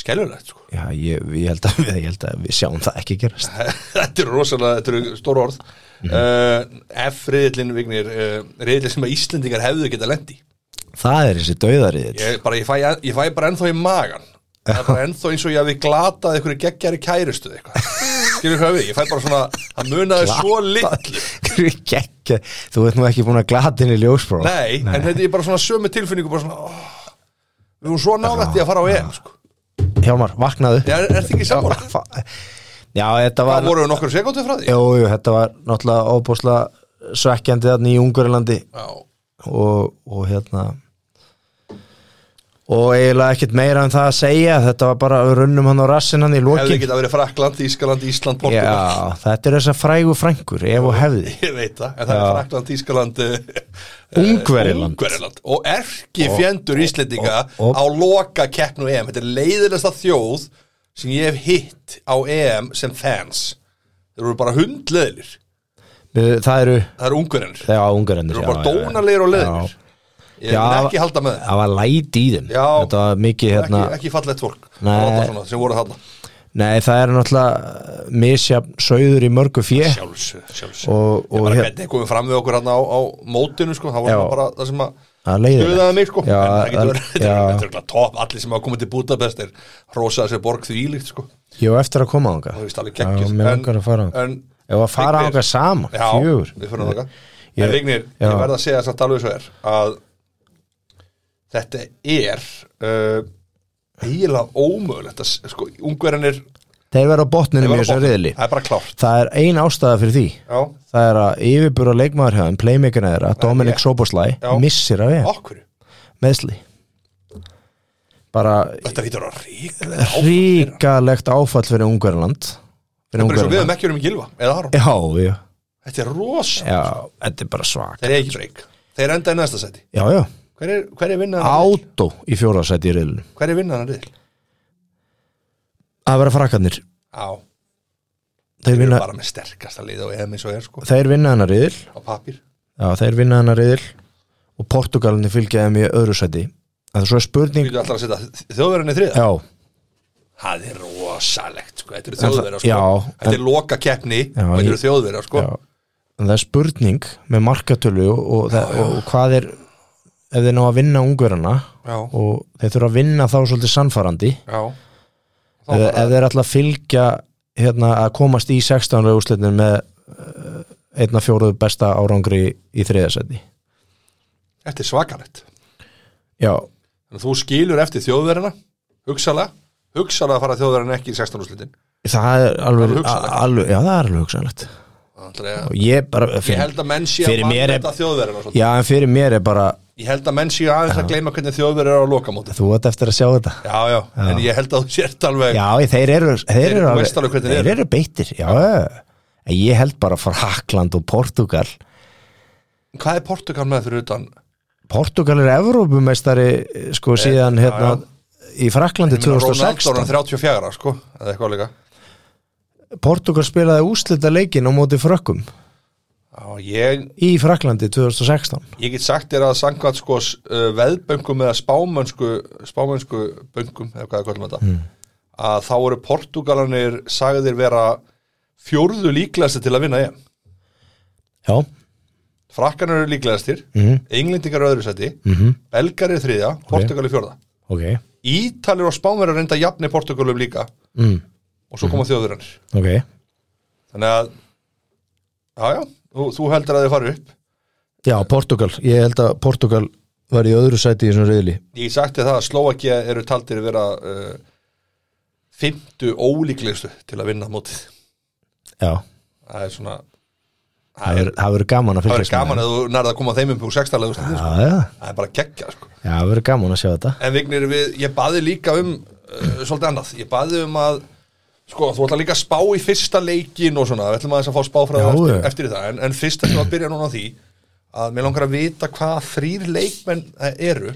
S1: skelvilegt sko.
S2: Já, ég, ég, held að, við- ég held að við sjáum það ekki gerast
S1: þetta eru rosalega, þetta eru stór orð uh, F riðillin vignir, uh, riðillin sem að Íslendingar hefðu geta lendi,
S2: Það er þessi dauðariðill
S1: ég, bara, ég, fæ, ég fæ bara ennþá í magan, það er bara ennþá eins og ég hafi glatað einhverju geggjari kærustu eða eitthvað, skilur hvað við, ég fæ bara svona það munaði svo litlu
S2: Gekk, þú ert nú ekki búin að glata inn í ljósbró
S1: nei, en þetta er bara svona sömu tilfinningu bara svona, oh, við vorum svo nálætti að fara á EM sko.
S2: Hjálmar, vaknaðu
S1: Já, er, er þetta ekki sammála?
S2: Fa- Já, þetta var
S1: Það voru nokkur sekundu frá því?
S2: jú, jú, þetta var náttúrulega óbúslega svekkjandi þarna í Ungarilandi
S1: Já.
S2: og, og hérna og eiginlega ekkert meira en það að segja þetta var bara við runnum hann á rassin hann í
S1: Hefði
S2: lokin
S1: geta verið Frakland, Ískaland, Ísland, Portugal
S2: Já, þetta er þess að frægu frængur ef og hefði
S1: Ég veit það, en það er Frakland, Ískaland Eh,
S2: Ungveriland.
S1: Ungveriland Og erki fjendur Íslendinga
S2: og- og-
S1: á loka keppnu EM Þetta er leiðilegsta þjóð sem ég hef hitt á EM sem fans Þeir eru bara hundleðilir
S2: Við- Eh, Það eru,
S1: Það eru ungverinir Þeir
S2: það eru ungarendur
S1: eru bara dónalegir og leðilir Ég
S2: Já,
S1: mun ekki halda með þeim
S2: Það var læti í þeim
S1: Já.
S2: Þetta var mikið hérna
S1: ekki, ekki fallegt fólk
S2: Nei.
S1: Láta svona, sem voru þarna
S2: Nei, það er náttúrulega misja sögður í mörgu fjö
S1: sjálfsög, sjálfsög
S2: og,
S1: Ég
S2: og
S1: bara
S2: hér-
S1: hvernig komum fram við okkur hann á, á mótinu sko, það var
S2: Já.
S1: svona bara það sem að
S2: Það er leiðilegt.
S1: döðaði mig sko en
S2: Já,
S1: það
S2: það-
S1: getur verið, þetta
S2: já.
S1: er- þetta er örugglega topp allir sem hafa komið til Budapest er rosaði sér borg því líkt sko,
S2: Ég á eftir að koma ánga
S1: það er vist alveg
S2: Já,
S1: geggjast
S2: mér langar að fara þangað.
S1: en,
S2: Ef að fara
S1: Vignir-
S2: ánga saman,
S1: Já,
S2: fjögur
S1: við fyrir þangað
S2: Ég-
S1: En Vignir,
S2: já.
S1: ég verð að segja samt alveg svo er að þetta er uh, eiginlega ómögulegt að, s- sko, ungverðinir
S2: Þeir verða á botninu mjög sem riðli
S1: það er bara klárt
S2: Það er ein ástæða fyrir því
S1: Já,
S2: Það er að yfirbúra leikmaður hefðan, playmakerna þeirra, Dominic
S1: ég-
S2: Soboslæ,
S1: Já.
S2: missir að við,
S1: okkur
S2: meðsli Bara
S1: Þetta hýtur að ríkla
S2: ríkalegt áfall fyrir Ungverland Fyrir
S1: Bara eins og við
S2: Ungverland
S1: höfum ekki verið með gilva eða Aron
S2: Já, já,
S1: Þetta er rosa
S2: já, þetta er bara svak
S1: Þeir er ekki break Þeir enda í næsta seti
S2: Já, já,
S1: Hver er, hver er vinnan
S2: átó í fjóraðsæti í riðlunum
S1: Hver er vinnan að riðl?
S2: Það vera frakkarnir
S1: Á
S2: Þeir
S1: Þeir
S2: vinna,
S1: eru bara með sterkasta lið og eða eins og er sko
S2: þeir vinna hennar riðil
S1: Á pappir
S2: Já, þeir vinna hennar riðil og Portugalinni fylgjaði mér öðru sæti En svo er spurning
S1: Þú ætlar að setja þjóðverðinni þriða
S2: Já,
S1: Það er rosalegt sko Þetta eru
S2: En það-
S1: þjóðverðar sko
S2: já,
S1: Þetta er loka keppni
S2: Já,
S1: Þetta
S2: ég-
S1: eru þjóðverðar sko
S2: já En það er spurning með markatölu og, og, það, og, og hvað er ef þeir ná að vinna ungverana
S1: Já
S2: og þeir þurfa að vinna þá svolítið sannfarandi
S1: Já Þá
S2: ef,
S1: bara-
S2: ef þeir ætla að fylgja hérna, að komast í 16 úrslitin með uh, einna fjóruðu besta árangri í þriðasæti
S1: Þetta er svakalegt
S2: Já,
S1: Þannig að þú skilur eftir þjóðverðina Hugsalega Hugsalega að fara þjóðverðin ekki í 16 úrslitin
S2: það er alveg,
S1: Það er hugsanlegt.
S2: a- alveg Já, það er alveg hugsanlegt
S1: Ég
S2: og ég bara finn,
S1: held að menn sé að
S2: fyrir mér er-
S1: vanmeta þjóðverðina svolítið.
S2: Já, en fyrir mér er bara
S1: Ég held að menn séu aðeins að gleyma hvernig þjóðverður eru á lokamóti
S2: þú ert eftir að sjá þetta
S1: Já, já, en ég held að þú sért alveg
S2: Já, þeir eru, þeir
S1: Þeir-
S2: eru,
S1: þú
S2: alveg,
S1: veist alveg hvernig þeir
S2: þeir eru beittir Já, en ég held bara Frakland og Portugal
S1: Hvað er Portugal með fyrir utan?
S2: Portugal er Evrópumeistari sko síðan
S1: já,
S2: hérna í Fraklandi
S1: Ég meina, Ronaldo er hann
S2: 2016
S1: 34, sko, eða eitthvað líka
S2: Portugal spilaði úslita leikin á móti frökkum
S1: Já, ég,
S2: í Fraklandi 2016
S1: ég get sagt þér að sangvæmt sko s- uh, veðböngum eða spámönsku spámönsku böngum, eða hvað er kvöldum þetta að þá eru Portugalanir sagðir vera fjórðu líklegasti til að vinna EM
S2: Já,
S1: Frakkanar eru líklegastir,
S2: Mhm.
S1: englendingar eru öðru seti,
S2: Mhm.
S1: belgar eru þriðja, Portugal eru fjórða
S2: ok
S1: Ítalir og Spánverjar reynda jafni Portugalum líka
S2: mm,
S1: og svo koma mm. þjóðurannir
S2: Ok,
S1: þannig að já, já, þú, þú heldur að þið fari upp
S2: já, Portugal Ég held að Portugal var í öðru sæti í þessum reyðli
S1: ég sagti það að Slovakia eru taldir að vera uh, fymtu ólíklegustu til að vinna mótið
S2: Já,
S1: það er svona
S2: það
S1: það er,
S2: verður- það verður gaman að
S1: það
S2: fylgjast
S1: er gaman að þú nærða að koma þeim upp úr sextalega
S2: með
S1: úrslitin, sko.
S2: það Já, já,
S1: það er bara geggja sko.
S2: já, það verður gaman að sjá þetta
S1: en vignir við, ég baði líka um uh, svolítið annað, ég baði um að sko, þú ætlar líka að spá í fyrsta leikin og svona, við ætlum aðeins að fá spáfræði
S2: Já,
S1: eftir,
S2: já.
S1: eftir í það, en, en fyrst ætlum við að byrja núna á því að mér langar að vita hvað þrýr leikmenn það eru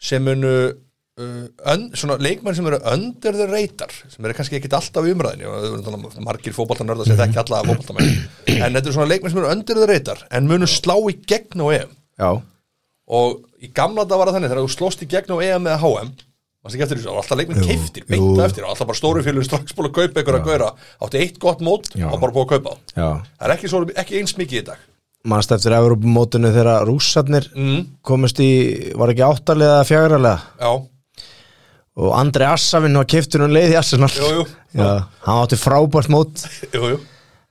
S1: sem munu uh, ön, svona leikmenn sem eru under the radar sem eru kannski ekkit alltaf í umræðinni og það eru náttúrulega um margir fótballtarnörðar sem þekki alla
S2: Mhm.
S1: fótballtarmenn, en þetta eru svona leikmenn sem eru under the radar, en munu slá í gegn og ef
S2: Já,
S1: og í gamla þetta var það þannig þegar þú slóst í gegn á EM eða HM mannst ekki eftir þessu, það var alltaf leikmenn
S2: Jú,
S1: keiftir
S2: jú.
S1: beint á eftir, og alltaf bara stóru félugin strax búin að kaupa ykkur að gauðra, átti eitt gott mót
S2: Já.
S1: og bara búin að kaupa á
S2: já
S1: það er ekki, svo, ekki eins mikið í dag
S2: mannst eftir Evrópumótinu þegar rússarnir komist í, var ekki áttalega eða fjagralega
S1: já,
S2: og Andri Assafinn var keftur um leið í Arsenal
S1: Jú, jú.
S2: Já, hann átti frábært mót
S1: jú, jú,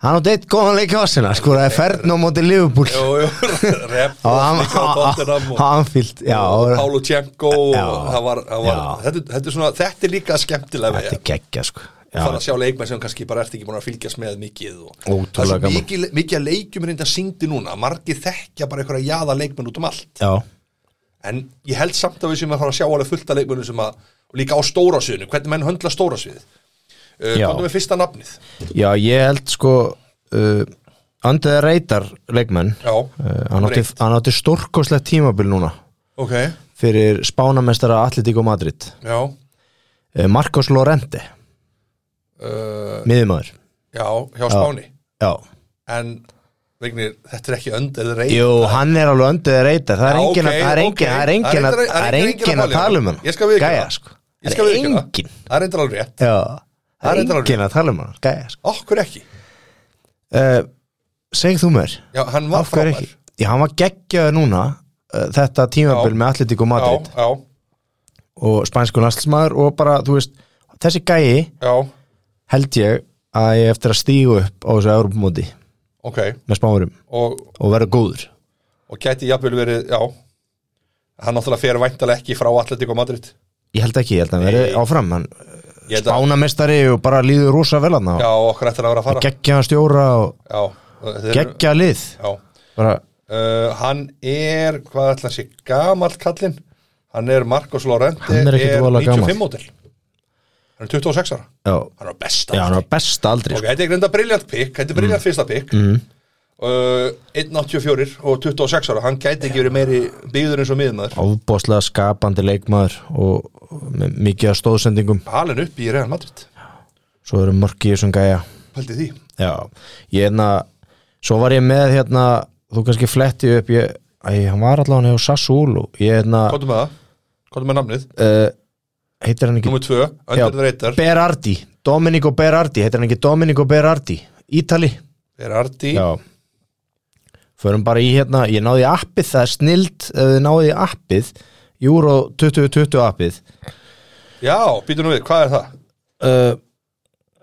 S2: hann átti eitt góðan leik í Arsenal sko, það er ferdn á móti Liverpool
S1: jú, jú. rep
S2: á Am-
S1: líka á Tottenham
S2: á- á
S1: og
S2: Anfield já, og-
S1: Pálu Tjenko
S2: Já.
S1: það var, það var,
S2: Já.
S1: þetta, þetta, er svona, þetta er líka skemmtilega
S2: þetta er
S1: við
S2: geggja sko
S1: fara
S2: já,
S1: að sjá leikmenn sem kannski bara ert ekki búin að fylgjast með mikið og
S2: Ótrúlega
S1: það er svo
S2: gaman.
S1: mikið, mikið að leikjum reynda syngdi núna, margir þekkja bara einhverja jaða leikmenn út um allt
S2: já,
S1: En ég held samt að við sem að fara að sjá alveg fullt að leikmönnum sem að, og líka á stóra sviðinu, hvernig menn höndla stóra sviðið. Uh,
S2: Já.
S1: Komdu með fyrsta nafnið.
S2: já, ég held sko uh, Andriða Reitar leikmenn
S1: Já.
S2: uh, hann, átti,
S1: Breitt.
S2: hann átti stórkoslegt tímabil núna
S1: Ok,
S2: fyrir spánamestara Atletico Madrid
S1: já.
S2: uh, Marcos Lorente
S1: Uh,
S2: miðumæður
S1: já, hjá Spáni.
S2: Já,
S1: En, vegnir, þetta er ekki öndið reynd.
S2: jú, hann er alveg öndið reytar Það er
S1: Já,
S2: engin að-
S1: ok,
S2: það er engin-
S1: ok.
S2: það er engin
S1: Það
S2: að-
S1: er reyndar-
S2: það er engin að tala um hann
S1: Ég skal viðurkenna
S2: Gæja,
S1: það.
S2: sko
S1: Ég
S2: Það
S1: skal
S2: er
S1: viðurkenna það.
S2: engin
S1: Það er reyndar alveg rétt.
S2: Já,
S1: Það er
S2: það er
S1: reyndar alveg-
S2: enginn að tala um hann gæja, sko.
S1: Okkur ekki
S2: uh, segð þú mér
S1: Já, hann var
S2: af hverju
S1: frábær.
S2: ekki já, hann var geggjaður núna uh, þetta tímabil
S1: Já.
S2: með Atletico Madrid
S1: Já, já,
S2: og spænsku landslismæður og bara, þú veist, þessi gæi
S1: já,
S2: held ég að ég eftir að stígu upp á þessu Europamóti
S1: ok
S2: með spáurum
S1: Og,
S2: og vera góður
S1: og gæti jafnvel verið, já Hann náttúrulega fer væntalega ekki frá Atletico Madrid
S2: ég held ekki, ég held að hann veri
S1: Nei.
S2: áfram hann
S1: Ég held að-
S2: spánamestari og bara líður rosa vel hann
S1: Já, okkur ættir að vera að fara
S2: geggja stjóra og
S1: Já, þeir, eru-
S2: geggja lið
S1: já.
S2: bara,
S1: Uh, hann er, hvað ætla að sé, gamall kallinn Hann er Marcos Lorente
S2: Hann er ekkit voðalega gamall.
S1: 95 mótil Hann er 26 ára
S2: já,
S1: Hann er á besta
S2: já, hann
S1: aldri.
S2: var besta sko. aldri
S1: Ok, þetta er greinda briljant pikk, þetta er briljant fyrsta pikk mm. uh, 1.84 og 26 ára, hann gæti ekki verið meiri býður eins og miðnaður
S2: ábóðslega skapandi leikmaður og og með mikið af stóðsendingum
S1: Halinn upp í Real Madrid,
S2: svo eru mörki í þessum gæja
S1: pældi því
S2: já, ég hérna svo var ég með hérna þú kannski fletti upp ég, æ, hann var allavega hjá Sassúlu ég hérna,
S1: Kottum með það, kottum með namnið
S2: uh, heitir hann ekki
S1: Númer 2,
S2: Já.
S1: Öndur Reitar
S2: Berardi, Dominico Berardi heitir hann ekki Dominico Berardi, Ítali
S1: Berardi,
S2: Já Förum bara í hérna, ég náði í appið það er snild, ef þið náði í appið Euro 2020 appið
S1: já, býtu nú við, hvað er það?
S2: uh,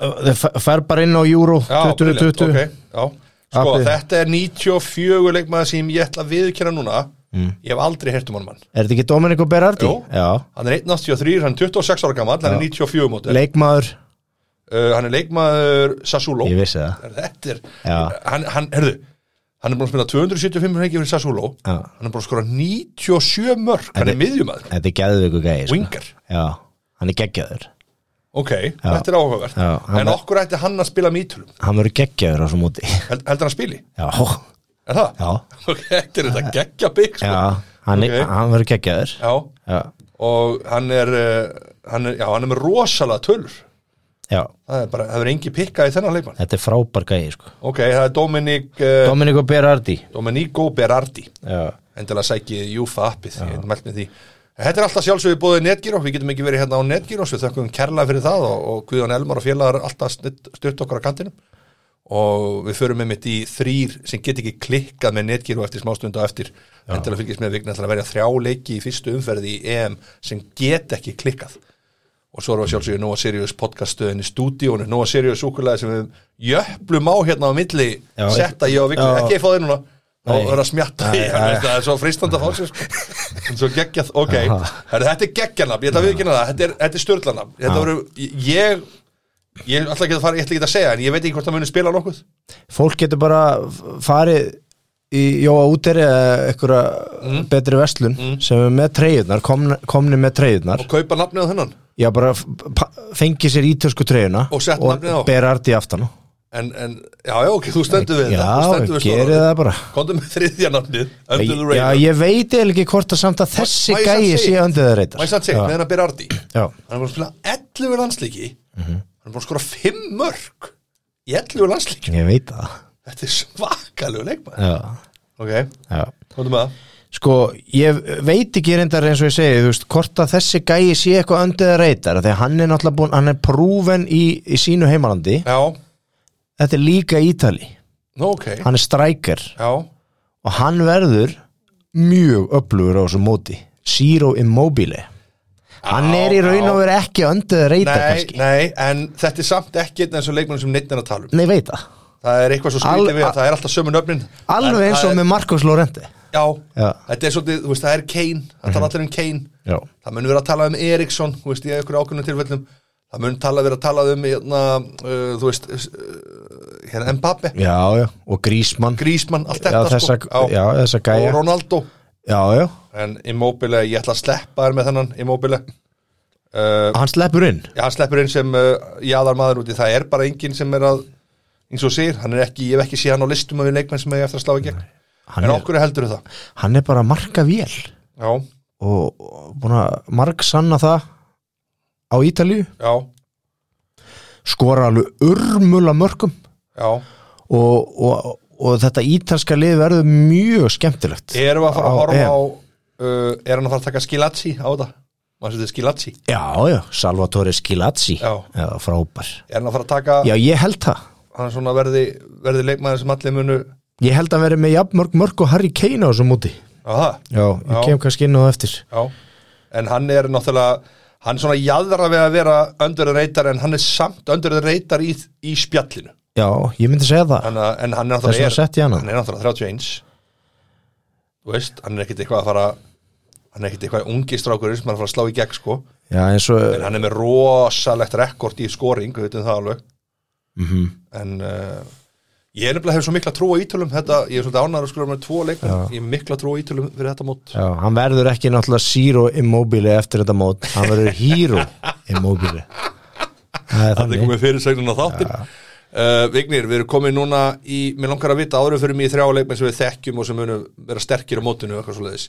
S2: uh, þið fer- fer bara inn á Euro
S1: Já,
S2: 2020
S1: brilliant, ok, já. Sko,
S2: Appi.
S1: þetta er 94 leikmaður sem ég ætla að viðkjöra núna
S2: Mm.
S1: Ég hef aldrei heyrt um hann mann
S2: Er þetta ekki Dominico Berardi?
S1: Jú.
S2: Já,
S1: Hann er 1.83, hann er 26 ára gammal, hann er 94 mótil uh,
S2: leikmaður,
S1: Eh, Hann er leikmaður Sassulo
S2: ég vissi það
S1: Þetta er,
S2: Já.
S1: hann, hann, herðu Hann er búin að spila 275 leikir fyrir Sassulo
S2: Já.
S1: Hann er búin að skora 97 mörg Hann er miðjumæður,
S2: Þetta er geðveiku gæði sko.
S1: wingar
S2: Já, hann er geggjaður
S1: Ok, þetta er áhugavert
S2: Já, hann
S1: En
S2: er-
S1: okkur ætti hann að spila mítulum
S2: Hann verður geggjaður á svo móti
S1: Held, Heldur hann spili,
S2: Já,
S1: er það?
S2: já,
S1: Ok, þetta er þetta geggja bygg sko.
S2: já Hann, okay.
S1: Ok.
S2: hann verður geggjaður
S1: Já,
S2: Já,
S1: og hann er, eh, hann er, já, hann er með rosalega tölur
S2: já,
S1: Það er bara, það er engi pikka í þennan leikmann
S2: þetta er frábær gæði sko.
S1: Ok, það er Dominik uh,
S2: Dominico Berardi
S1: Dominico Berardi
S2: Já,
S1: Endilega sækið Júfa appið, ég hef mælt með því Þetta er alltaf sjálfsögðu búið Netgyros, við getum ekki verið hérna á Netgyros, við þökkum kærlega fyrir það og, og Guðjón Elmar og félagar alltaf snudd- stutt okkar á kantinum og við förum með mitt í þrýr sem get ekki klikkað með Netgyro eftir smástundu og eftir endilega fylgjast með vikna að verja þrjá leiki í fyrstu umferði í EM sem get ekki klikkað og svo erum við sjálfsögur Nóa Sirius podcaststöðin í stúdíónu, Nóa Sirius súkulega sem við jöflum á hérna á milli
S2: Já,
S1: setta ég og vikna,
S2: já.
S1: ekki fá þig núna og
S2: Nei.
S1: vera að smjatta í
S2: Nei,
S1: hann,
S2: nei.
S1: veist, það er svo fristandi að fá sér sko. En svo geggjað, ok Herra, þetta er geggjanab, ég ætla að viðkynna það þetta er, þetta er störlanab, þetta voru ég, ég ætla ekki að fara, ég ætla ekki að segja en ég veit ekki hvort það muni spila nokkuð
S2: fólk getur bara f- farið í Jóa úteri eða einhverja
S1: Mm.
S2: betri verslun sem er með treyjurnar, komni, komni með treyjurnar
S1: og kaupa nafnið á þennan
S2: já bara f- pa- fengi sér ítösku treyjuna
S1: Og sett nafnið á.
S2: berardi aftan á
S1: en, en, já, já, ok, þú stendur við þetta, þú
S2: já,
S1: stendur við
S2: gerið það bara
S1: Kondum með þriðja nafnið, Under the
S2: já,
S1: Radar
S2: ég veit eiginlega ekki hvort að samt að þessi
S1: Má ég samt
S2: gæi
S1: segja
S2: sé
S1: eitt?
S2: öndið að
S1: Má ég samt segja,
S2: reyta
S1: meðan að byrja Ardi
S2: já,
S1: Hann er búin að spila 11 landslíki
S2: Mhm.
S1: Hann er búin að skora 5 mörg Í 11 landslíki
S2: ég veit það
S1: Þetta er svakalegu leikmann
S2: já,
S1: Ok,
S2: já
S1: komdu með það
S2: Sko, ég veit ekki reyndar eins og ég segi, þú veist, hvort að þessi gæi sé eitthvað öndið að reytar, þegar hann er náttúrulega búinn, hann er prúven í, í sínu heimalandi,
S1: Já,
S2: þetta er líka Ítali,
S1: nú ok
S2: hann er strækar
S1: Já,
S2: og hann verður mjög öflugur á þessu móti, Zero Immobile. Hann
S1: Já,
S2: er í raun og
S1: já.
S2: verið ekki öndið að reytar
S1: nei,
S2: kannski.
S1: nei, en þetta er samt ekki einn eins og leikmann sem neitt er að tala um
S2: Nei, veit það.
S1: Það er eitthvað svo
S2: Al-
S1: skrítið við að það er alltaf sömu nöfnin En
S2: Alveg eins
S1: það
S2: og
S1: er-
S2: með Marcos Lorente.
S1: Já,
S2: Já. Mhm.
S1: þetta er svolítið, þú veist, það er Kane Það tala allir um Kane
S2: Já.
S1: Það mun vera að tala um Eriksson, þú veist, í einhverju ákveðnum tilfellum Það mun tala vera að tala um, hérna, uh, þú veist, uh, hérna Mbappe
S2: Já, já, og Grísmann.
S1: Grísmann, allt
S2: Já,
S1: þetta
S2: þessa,
S1: sko
S2: já, þessa
S1: og
S2: gæja.
S1: Ronaldo
S2: Já, já,
S1: en Immobile, ég ætla að sleppa þér með þennan Immobile uh,
S2: hann sleppur inn.
S1: já, hann sleppur einn sem uh, jáðar maður úti, það er bara enginn sem er að eins og segir, hann er ekki, ég hef ekki séð hann á listum af við leikmenn sem hefur eftir að slá í gegn
S2: Hann
S1: en
S2: er,
S1: okkur heldur það
S2: hann er bara að marka vél.
S1: já,
S2: og og búin að marg sanna það á Ítalíu
S1: já,
S2: skora alveg urmula mörgum
S1: já
S2: og, og, og þetta ítalska lið verður mjög skemmtilegt
S1: erum við að fara að
S2: Á
S1: horfa eh,
S2: EM.
S1: á uh, er hann að fara að taka skilazzi á þetta maður setið Skilazzi
S2: Já, já, Salvatore Skilazzi
S1: Já.
S2: frábær
S1: er hann að fara að taka,
S2: Já, ég held það
S1: hann svona verði verði leikmaður sem allir munu
S2: Ég held að vera með jafnmörg mörg og Harry Kane á þessum úti
S1: aha,
S2: Já, ég
S1: Já.
S2: kem kannski inn á það eftir
S1: já. en hann er náttúrulega hann svona jaðra við að vera öndurðin reytar en hann er samt öndurðin reytar í, í spjallinu
S2: Já, ég myndi segja það
S1: hann, en hann er
S2: Þess vegna
S1: náttúrulega
S2: setti ég hann á.
S1: hann er náttúrulega 31 þú veist, hann er ekkit eitthvað að fara hann er ekkit eitthvað ungi strákurinn sem hann er að fara að slá í gegn sko
S2: Já, eins og
S1: en hann er með rosalegt rekord í skoring, við veitum það alveg
S2: mm -hmm.
S1: en uh, ég er nefnilega hef svo mikla trú á ítölum þetta, ég er svolítið ánæður að skilja með tvo leikmenn ég hef mikla trú á ítölum fyrir þetta mót
S2: Já, hann verður ekki náttúrulega Zero Immobile eftir þetta mót Hann verður Hero Immobile Það er
S1: það er
S2: þannig
S1: komið fyrir segnun á þáttin uh, Vignir, við erum komið núna í mér langar að vita áður en við fyrir mig í þrjá leikmenn sem við þekkjum og sem munum vera sterkir á mótinu og eitthvað svoleiðis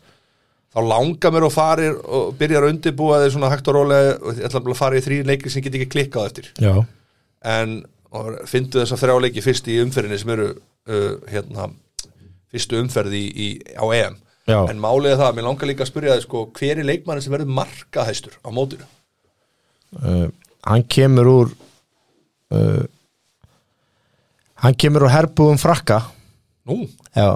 S1: þá langar mér og farir og byrjar að undibúa þeir svona hægt og rólega og ég ætla bara að fara í þrý leikir sem ég get ekki klikkað eftir
S2: Já,
S1: en fyndu þess að þrjáleiki fyrst í umferðinni sem eru uh, hérna, fyrstu umferði í, í, á EM
S2: Já.
S1: en málið er það, mér langar líka að spyrja þið sko, hver er leikmannin sem verður markahæstur á mótinu?
S2: uh, hann kemur úr uh, Hann kemur úr herbúðum frakka
S1: Nú,
S2: Já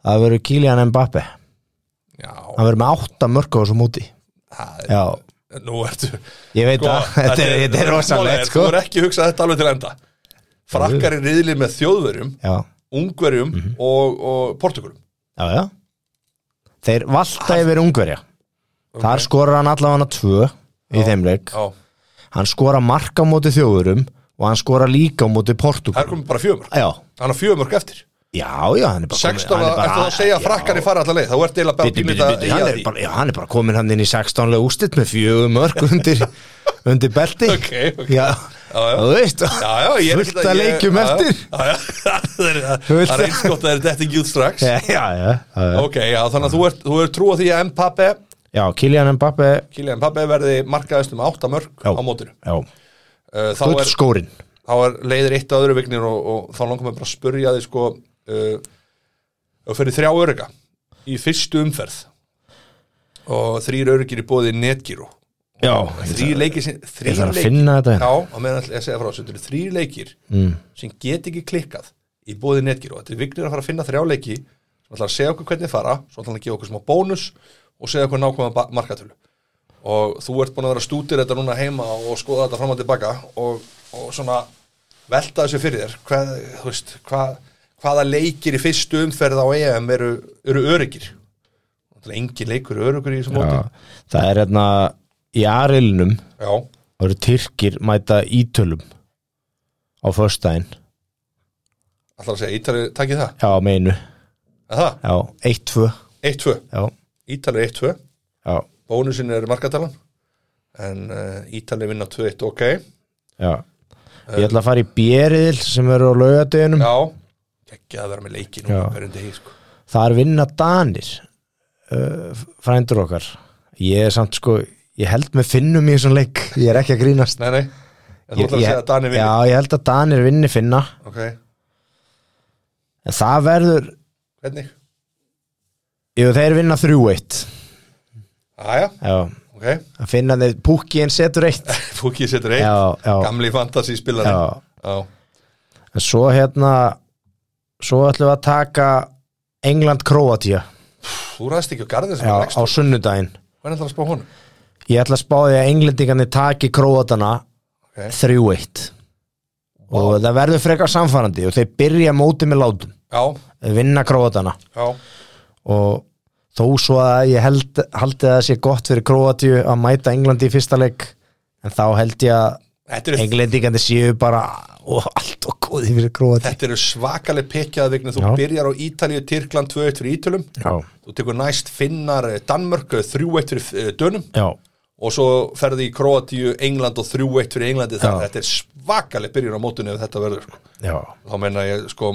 S2: Það verður Kylian Mbappe Hann
S1: já,
S2: verður með átta mörg á þessu móti
S1: það er,
S2: Já,
S1: nú ertu
S2: ég veit það Sko, Þetta er, þetta er
S1: málið Sko,
S2: rosalegt
S1: er,
S2: sko
S1: Þú er ekki hugsað þetta alveg til enda Frakkar er riðli með þjóðverjum
S2: Já,
S1: Ungverjum
S2: Mhm.
S1: og, og Portugalum
S2: já, já Þeir valta yfir Ungverja Þar skorar hann allavega tvö í þeim leik
S1: Já,
S2: Hann skora mark á móti þjóðurum og hann skora líka á móti
S1: það er
S2: Portugal
S1: komið bara fjömörk
S2: Já,
S1: Hann er fjömörk eftir
S2: já, já, hann er bara
S1: 16 ára eftir það að segja að frakkar er fara allar leið Þá ert eiginlega bara
S2: Bitu, bitu, bitu, hann, er bara, já, hann er bara komin hann inn í 16 lega ústitt með fjögum örk undir, undir belti
S1: Ok, ok.
S2: Já,
S1: Já, já.
S2: þú veist
S1: Já, já, ég er
S2: fullt að leikjum
S1: ég-
S2: eftir
S1: Já, já, það er-
S2: Þú veist
S1: það er eins gott að það er þetta ekki út strax
S2: Já, já, já, já, já.
S1: Ok, já, þannig að þú ert, þú ert trú á því að Mbappe
S2: já Kylian Mbappe
S1: Kylian Mbappe verði markaðist um 8 mörg
S2: Já.
S1: á mótinu
S2: Já,
S1: Uh, þá,
S2: gull
S1: er,
S2: skórin
S1: þá er leiðir eitt að öðru vignir og, og þá langar mér bara að spurja því sko uh, og fyrir þrjá örygga í fyrstu umferð og þrýr öryggir í bóði netgíru
S2: Já,
S1: þrýr leikir sem
S2: ég
S1: þrýr
S2: þarf að
S1: leikir
S2: finna þetta
S1: Já,
S2: hérna.
S1: og meðan ætla ég að segja frá þessu, þetta eru þrýr leikir mm. sem get ekki klikkað í bóði netgíru þetta er vignir að fara að finna þrjá leiki sem ætla að segja okkur hvernig fara svo ætla hann að gefa okkur smá bónus og segja okkur nákvæma ba- markatölu og þú ert búin að vera stútir þetta núna heima og skoða þetta fram og tilbaka og, og svona velta þessu fyrir þér hvað, þú veist, hvað, hvaða leikir í fyrstu umferð á EM eru, eru öryggir engin leikur er öryggur í þessu móti
S2: Já, Það er hérna í Arilnum
S1: já,
S2: Það eru Tyrkir mæta ítölum á föstudaginn
S1: ætla að segja, Ítali takið það,
S2: Já, meinu
S1: er það,
S2: Já, 1-2
S1: 1-2
S2: Já,
S1: Ítali 1-2
S2: já,
S1: bónusin er markatalan en uh, Ítali vinna 2-1 ok
S2: já Ég ætla að fara í Bjerriðil sem eru á laugadeginum
S1: já, ekki að vera með leiki nú
S2: Mm. Já.
S1: hverjum degi sko
S2: Það er vinna Danir uh, Frændur okkar Ég er samt sko Ég held með finnum í þessum leik Ég er ekki að grínast
S1: nei, nei, en þú
S2: ég,
S1: ætlar að
S2: ég,
S1: segja að Dani vinna
S2: Já, ég held að Danir vinni finna
S1: ok,
S2: En það verður
S1: hvernig?
S2: Jú, þeir vinna 3-1
S1: aðja,
S2: Já,
S1: ok,
S2: að finna þeir Pukkiðin setur eitt
S1: Fúkið setur eitt
S2: Já, já,
S1: gamli fantasy spilari
S2: já
S1: Já.
S2: En svo hérna Svo ætlum við að taka England-Króatía
S1: þú ræðst ekki á garðin sem er
S2: á
S1: leggstur.
S2: sunnudaginn
S1: hvernig ætlar að spá honum?
S2: Ég ætla að spá því að englendingarnir taki Króatana
S1: Ok.
S2: 3-1 og það verður frekar samfærandi og þeir byrja mótið með látum
S1: já,
S2: Þeir vinna Króatana
S1: já,
S2: og þó svo að ég held, haldi að það sé gott fyrir Króatíu að mæta Englandi í fyrsta leik en þá held ég að
S1: þetta eru,
S2: englendingarnir séu bara og allt og góði fyrir Króatíu
S1: þetta eru svakaleg pekjaða vignu þú
S2: Já.
S1: byrjar á Ítalíu, Tyrkland 2-1 fyrir Ítölum
S2: Já,
S1: þú tekur næst Finnar, eh, Danmörk eh, 3-1 fyrir eh, Dönum
S2: já
S1: og svo ferði í Kroatíu, England og 3-1 fyrir Englandi
S2: Já.
S1: þannig að þetta er svakaleg byrjun á mótunni ef þetta verður sko.
S2: Já,
S1: þá menna ég sko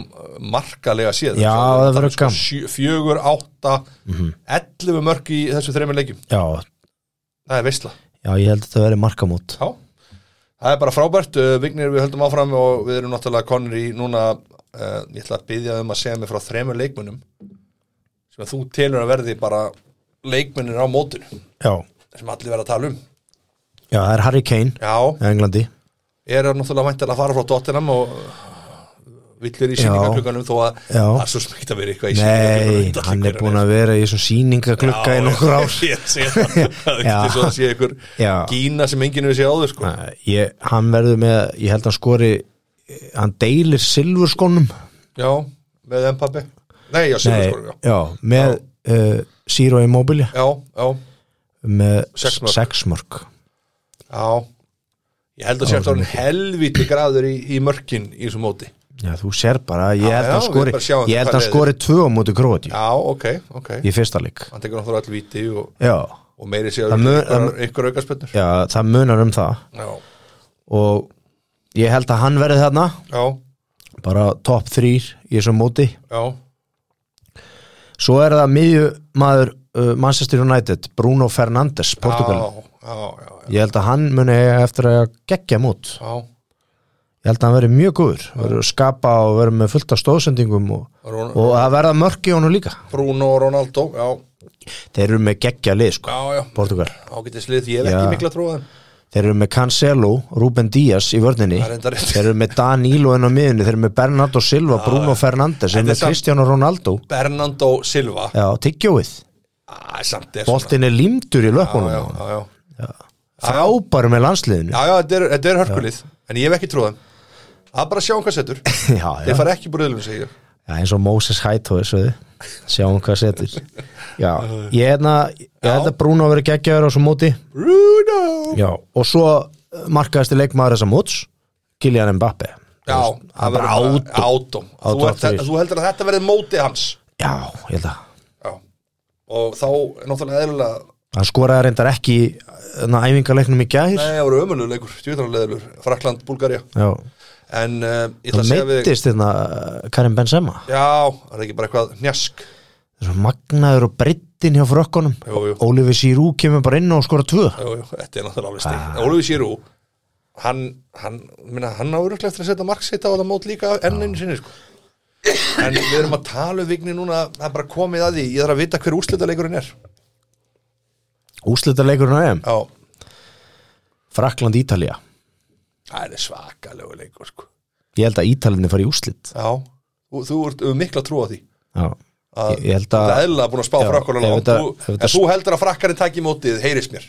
S1: markalega séð
S2: Já,
S1: Svo
S2: það verður
S1: er
S2: gaman. Mhm.
S1: sjö- fjögur, átta, 11 mörg í þessu þreymur leikjum,
S2: já,
S1: það er veistla
S2: Já, ég held að þetta verði markamót
S1: Já, það er bara frábært uh, Vignir við höldum áfram og við erum náttúrulega konur í núna uh, ég ætla að byggja um að segja mig frá þremur leikmunum sem að þú telur að verði bara leikmunir á mótinu
S2: Já,
S1: sem allir verða að tala um
S2: Já, það er Harry Kane
S1: Já,
S2: í Englandi
S1: er hann náttúrulega mæntilega að fara frá Tottenham og villir í
S2: Já.
S1: síningaklukkanum þó að
S2: Já.
S1: það er svo smegt að vera eitthvað í
S2: Nei,
S1: sýningaglugganum,
S2: hann er
S1: hver
S2: búin að vera í þessum sýningaglugga í nokkur ár
S1: Ég sé það Það er
S2: Já.
S1: ekki svo að sé einhver
S2: Já.
S1: gína sem enginn við sé áður sko
S2: Nei, ég, Hann verður með, ég held hann skori hann deilir silfurskónum
S1: Já, með Mpappi Nei, já,
S2: Nei,
S1: Silvurskóru, já
S2: já, með uh, Zero Immobile
S1: Já, já,
S2: með
S1: Sex mörk.
S2: sexmörk
S1: já Ég held að sé eftir hann helvíti graður í, í mörkin í þessu móti
S2: Já, þú sér bara, ég
S1: Já,
S2: held
S1: já,
S2: hann
S1: við
S2: skori
S1: bara sjáum
S2: ég held
S1: hvað
S2: hann
S1: leiðir.
S2: skori tvö á móti Króti
S1: Já, ok, ok
S2: í fyrsta leik
S1: Hann tekur náttúrulega all víti og,
S2: Já,
S1: og meiri sé
S2: Það mun- það
S1: ykkur, ykkur aukaspennur
S2: já, það munar um það
S1: Já,
S2: og ég held að hann verði þarna
S1: já,
S2: bara top 3 í þessum móti
S1: já
S2: Svo er það miðjumaður uh, Manchester United, Bruno Fernandes Portugal,
S1: Já, já, já, já,
S2: ég held að hann muni eiga eftir að gegja mót
S1: já.
S2: ég held að hann veri mjög góður, verður að skapa og verður með fullt af stóðsendingum og,
S1: Rún,
S2: og að verða mörk í honum líka
S1: Bruno og Ronaldo Já,
S2: þeir eru með gegja lið sko,
S1: já, já
S2: Portugal
S1: Ágætislið, ég hef ekki
S2: Já.
S1: mikla trúið
S2: þeir eru með Cancelo, Ruben Díaz í vörninni,
S1: Það er enda rétt.
S2: þeir eru með Danilo en á miðunni, þeir eru með Bernardo Silva Bruno Fernandes,
S1: Þetta
S2: þeir eru
S1: er
S2: með
S1: samt-
S2: Cristiano Ronaldo
S1: Bernardo Silva
S2: já, tyggjóið,
S1: Æ, samt er svona
S2: boltin er límdur
S1: Já,
S2: í
S1: já,
S2: löpunum,
S1: já, já.
S2: frábæru með landsliðinu
S1: já, já, þetta er, þetta er hörkulið En ég hef ekki trúið Það er bara að sjá um hvað setur
S2: já, já.
S1: Þeir fara ekki bröðlum, segir ég
S2: Já, eins og Moses Hightower sveði sjáum hvað setur já, ég hefna ég hefna Bruno verið geggjaður á svo móti
S1: Bruno
S2: já, og svo eh, markaðasti leikmaður þessa móts Kylian Mbappe
S1: Já, það
S2: það var
S1: verður bara
S2: átum
S1: átum
S2: Ádó
S1: Þú, ert,
S2: aftur.
S1: þú heldur að þetta verði móti hans
S2: já, ég held að
S1: Já Og þá er náttúrulega eðlilega
S2: hann skoraði reyndar ekki na, æfingarleiknum í gær
S1: Nei, það voru ömululegur, djúðanlegur Frakland, Búlgarja
S2: já,
S1: En uh, ég ætla að
S2: það
S1: segja við þig-
S2: meittist þérna uh, Karim Benzema
S1: Já, það er ekki bara eitthvað njask
S2: Svo magnaður og brittin hjá frökkunum
S1: Jú, jú.
S2: Oliver Sirú kemur bara inn og skora tvö
S1: Jú, jú, þetta er náttúrulega alveg
S2: Ah.
S1: stík Óliði Sýrú hann, hann, minna, hann á örugglega eftir að setja mark sitt á það mót líka enn einu sinni sko. en við erum að tala um vigni núna það er bara komið að því, ég þarf að vita hver úrslitaleikurinn er já,
S2: úslita leikurinn á EM Frakland Ítalía
S1: það er svakalegu leikur sko.
S2: ég held að Ítalinni fari í úslit
S1: já, þú, þú ert um mikla trú á því
S2: já,
S1: að
S2: ég held
S1: það
S2: að
S1: er eðlilega búin að spá
S2: Já,
S1: frakkurinn
S2: ef
S1: langt
S2: þetta-
S1: þú,
S2: ef þetta-
S1: en þú heldur að frakkarinn taki í mótið heyrist mér